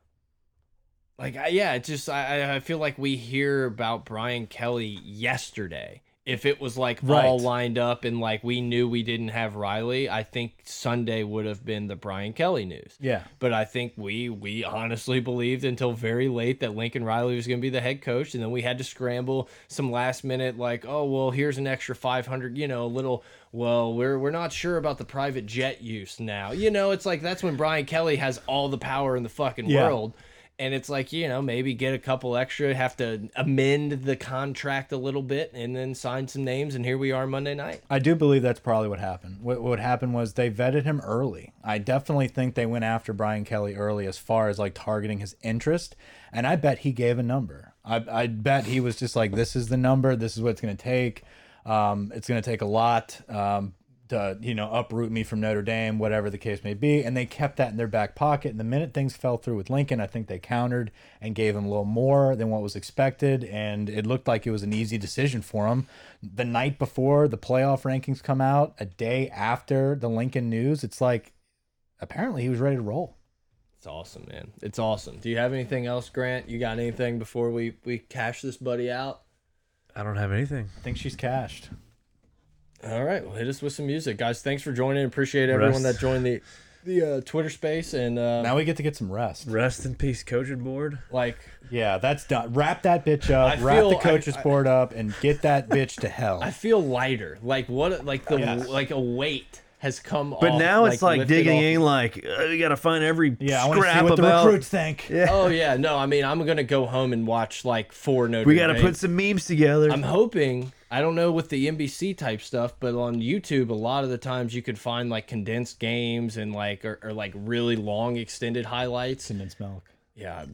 Speaker 3: like I, yeah, it just I I- I feel like we hear about Brian Kelly yesterday. If it was like all
Speaker 1: Right.
Speaker 3: lined up and like we knew we didn't have Riley, I think Sunday would have been the Brian Kelly news.
Speaker 1: Yeah.
Speaker 3: But I think we we honestly believed until very late that Lincoln Riley was going to be the head coach, and then we had to scramble some last minute like, oh well, here's an extra 500, you know, a little. Well, we're we're not sure about the private jet use now. You know, it's like that's when Brian Kelly has all the power in the fucking
Speaker 1: Yeah.
Speaker 3: world. And it's like, you know, maybe get a couple extra, have to amend the contract a little bit, and then sign some names. And here we are Monday night.
Speaker 1: I do believe that's probably what happened. What, what happened was they vetted him early. I definitely think they went after Brian Kelly early as far as like targeting his interest. And I bet he gave a number. I, I bet he was just like, this is the number. This is what it's going to take. Um, it's going to take a lot um, to, you know, uproot me from Notre Dame, whatever the case may be. And they kept that in their back pocket. And the minute things fell through with Lincoln, I think they countered and gave him a little more than what was expected. And it looked like it was an easy decision for him. The night before the playoff rankings come out, a day after the Lincoln news, it's like apparently he was ready to roll.
Speaker 3: It's awesome, man. It's awesome. Do you have anything else, Grant? You got anything before we, we cash this buddy out?
Speaker 4: I don't have anything.
Speaker 1: I think she's cashed.
Speaker 3: All right, well, hit us with some music, guys. Thanks for joining. Appreciate everyone
Speaker 4: Rest.
Speaker 3: that joined the the uh, Twitter space and uh,
Speaker 1: Now we get to get some rest.
Speaker 4: Rest in peace, coaching board.
Speaker 3: like
Speaker 1: Yeah, that's done. Wrap that bitch up.
Speaker 3: I
Speaker 1: wrap
Speaker 3: feel-
Speaker 1: the coaches
Speaker 3: I- I-
Speaker 1: board up and get that bitch to hell.
Speaker 3: I feel lighter. Like what? Like the
Speaker 1: Yes.
Speaker 3: like a weight has come.
Speaker 4: But
Speaker 3: off,
Speaker 4: now it's like
Speaker 3: lifted
Speaker 4: digging
Speaker 3: off.
Speaker 4: in, like uh, we gotta find every
Speaker 1: yeah, I want to see
Speaker 4: scrap
Speaker 1: what
Speaker 4: about.
Speaker 1: the recruits think.
Speaker 3: Oh yeah, no. I mean, I'm gonna go home and watch like four Notre
Speaker 4: We gotta
Speaker 3: Dame.
Speaker 4: put some memes together.
Speaker 3: I'm hoping. I don't know with the NBC type stuff, but on YouTube, a lot of the times you could find like condensed games and like or, or like really long extended highlights.
Speaker 1: Condensed milk
Speaker 3: Yeah, I- uh,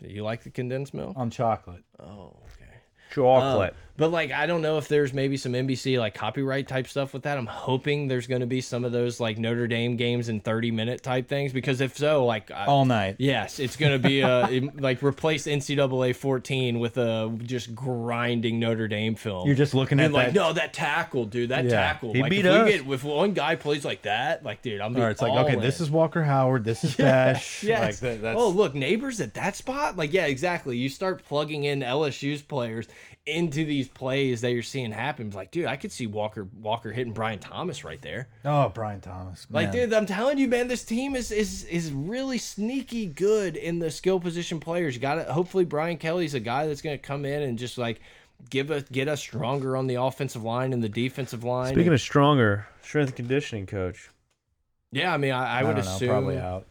Speaker 3: you like the condensed milk?
Speaker 1: on chocolate.
Speaker 3: Oh, okay.
Speaker 4: Chocolate.
Speaker 3: But like, I don't know if there's maybe some NBC like copyright type stuff with that. I'm hoping there's going to be some of those like Notre Dame games in 30 minute type things because if so, like, I,
Speaker 1: All night.
Speaker 3: yes, it's going to be a it- like replace NCAA 14 with a just grinding Notre Dame film.
Speaker 1: You're just looking at
Speaker 3: and like,
Speaker 1: that.
Speaker 3: no, that tackle, dude, that
Speaker 1: Yeah.
Speaker 3: tackle.
Speaker 4: He
Speaker 3: like,
Speaker 4: beat
Speaker 3: if we
Speaker 4: us.
Speaker 3: get- if one guy plays like that, like, dude, I'm.
Speaker 1: Or it's like, okay, this is Walker Howard. This is Dash.
Speaker 3: Yes.
Speaker 1: Like that, that's,
Speaker 3: oh, look, neighbors at that spot. Like, yeah, exactly. You start plugging in LSU's players into these plays that you're seeing happen. It's Like, dude, I could see Walker Walker hitting Brian Thomas right there.
Speaker 1: oh, Brian Thomas.
Speaker 3: Like,
Speaker 1: man.
Speaker 3: dude, I'm telling you, man, this team is is is really sneaky good in the skill position players. You got to hopefully Brian Kelly's a guy that's going to come in and just like give us get us stronger on the offensive line and the defensive line.
Speaker 4: Speaking of stronger, strength and conditioning coach.
Speaker 3: yeah, I mean, I, I, would
Speaker 1: don't know,
Speaker 3: assume
Speaker 1: probably uh, out.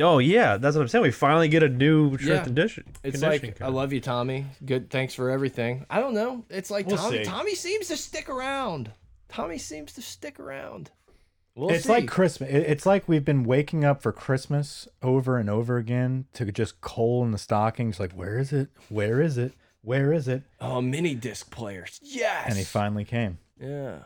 Speaker 4: Oh yeah, that's what I'm saying. We finally get a new strength
Speaker 3: Yeah.
Speaker 4: and condition.
Speaker 3: It's
Speaker 4: conditioning
Speaker 3: like
Speaker 4: coach.
Speaker 3: I love you, Tommy. Good, thanks for everything. I don't know. It's like
Speaker 1: We'll
Speaker 3: Tommy.
Speaker 1: see.
Speaker 3: Tommy seems to stick around. Tommy seems to stick around. We'll
Speaker 1: it's
Speaker 3: see.
Speaker 1: like Christmas. It- It's like we've been waking up for Christmas over and over again to just coal in the stockings. Like, where is it? Where is it? Where is it?
Speaker 3: oh, mini disc players. Yes.
Speaker 1: And he finally came.
Speaker 3: yeah.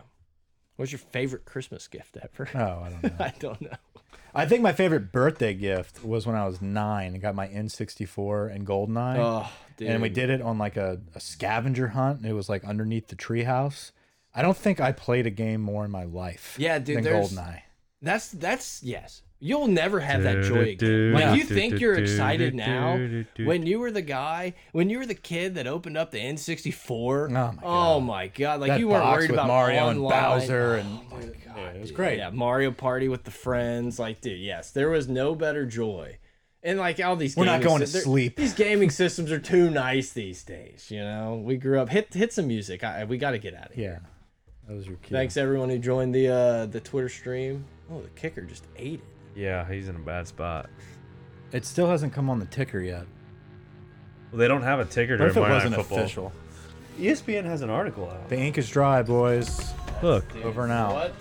Speaker 3: What's your favorite Christmas gift ever?
Speaker 1: Oh, I don't know.
Speaker 3: I don't know.
Speaker 1: I think my favorite birthday gift was when I was nine. I got my N64 and Goldeneye.
Speaker 3: Oh, dude.
Speaker 1: and we did it on like a, a scavenger hunt. and It was like underneath the treehouse. I don't think I played a game more in my life
Speaker 3: Yeah, dude,
Speaker 1: than
Speaker 3: there's-
Speaker 1: Goldeneye.
Speaker 3: That's that's yes. You'll never have that joy again. Like you think you're excited now when you were the guy, when you were the kid that opened up the N64.
Speaker 1: my God.
Speaker 3: Oh my god! Like
Speaker 1: That
Speaker 3: you weren't
Speaker 1: box
Speaker 3: worried
Speaker 1: with
Speaker 3: about
Speaker 1: Mario and
Speaker 3: online.
Speaker 1: Bowser and-
Speaker 3: oh my god,
Speaker 1: yeah, it was
Speaker 3: dude.
Speaker 1: great.
Speaker 3: Yeah, Mario Party with the friends. Like, dude, yes, there was no better joy. And like all these,
Speaker 1: We're not
Speaker 3: gaming
Speaker 1: going to
Speaker 3: sy- they're-
Speaker 1: sleep.
Speaker 3: These gaming systems are too nice these days. You know, we grew up. Hit hit some music. I, we got to get out of here.
Speaker 1: Yeah. That was your cue.
Speaker 3: Thanks everyone who joined the uh, the Twitter stream. Oh, the kicker just ate it.
Speaker 4: Yeah, he's in a bad spot.
Speaker 1: It still hasn't come on the ticker yet.
Speaker 4: Well, they don't have a ticker
Speaker 1: What
Speaker 4: during
Speaker 1: if it
Speaker 4: Monday Night
Speaker 1: wasn't
Speaker 4: Football.
Speaker 1: official?
Speaker 3: E
Speaker 4: ESPN has an article out.
Speaker 1: The ink is dry, boys.
Speaker 4: Look,
Speaker 1: Over and out.
Speaker 3: What?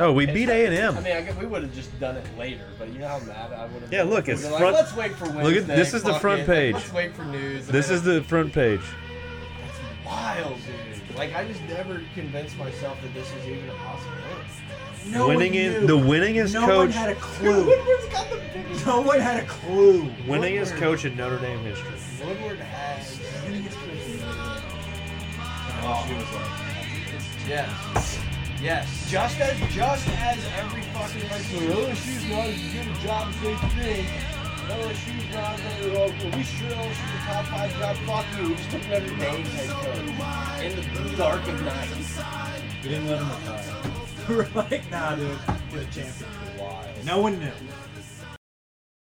Speaker 4: oh, we beat A and
Speaker 3: I
Speaker 4: M.
Speaker 3: mean, I guess we would have just done it later, but you know how mad I would have.
Speaker 4: Yeah, look, it's
Speaker 3: like,
Speaker 4: front-
Speaker 3: Let's wait for Wednesday.
Speaker 4: Look at- this is the
Speaker 3: fuck
Speaker 4: front
Speaker 3: it.
Speaker 4: page.
Speaker 3: Let's wait for news.
Speaker 4: This is the front page.
Speaker 3: That's wild, dude. Like I just never convinced myself that this was even a possibility. No
Speaker 4: winning
Speaker 3: one
Speaker 4: in
Speaker 3: knew.
Speaker 4: the winningest coach,
Speaker 3: a clue. Woodward's got the biggest. No one had a clue.
Speaker 4: winningest coach in Notre Dame history.
Speaker 3: Woodward has. Oh, Yes. Yes. Just as just as every fucking like so LSU's not as good a job as they think. LSU's not very well. well, We sure LSU's a top five job. Fuck you. We just took Notre Dame's head coach in the dark of night.
Speaker 1: We didn't let him retire.
Speaker 3: We're like, nah, dude. We're the champions for a while.
Speaker 1: No one knew.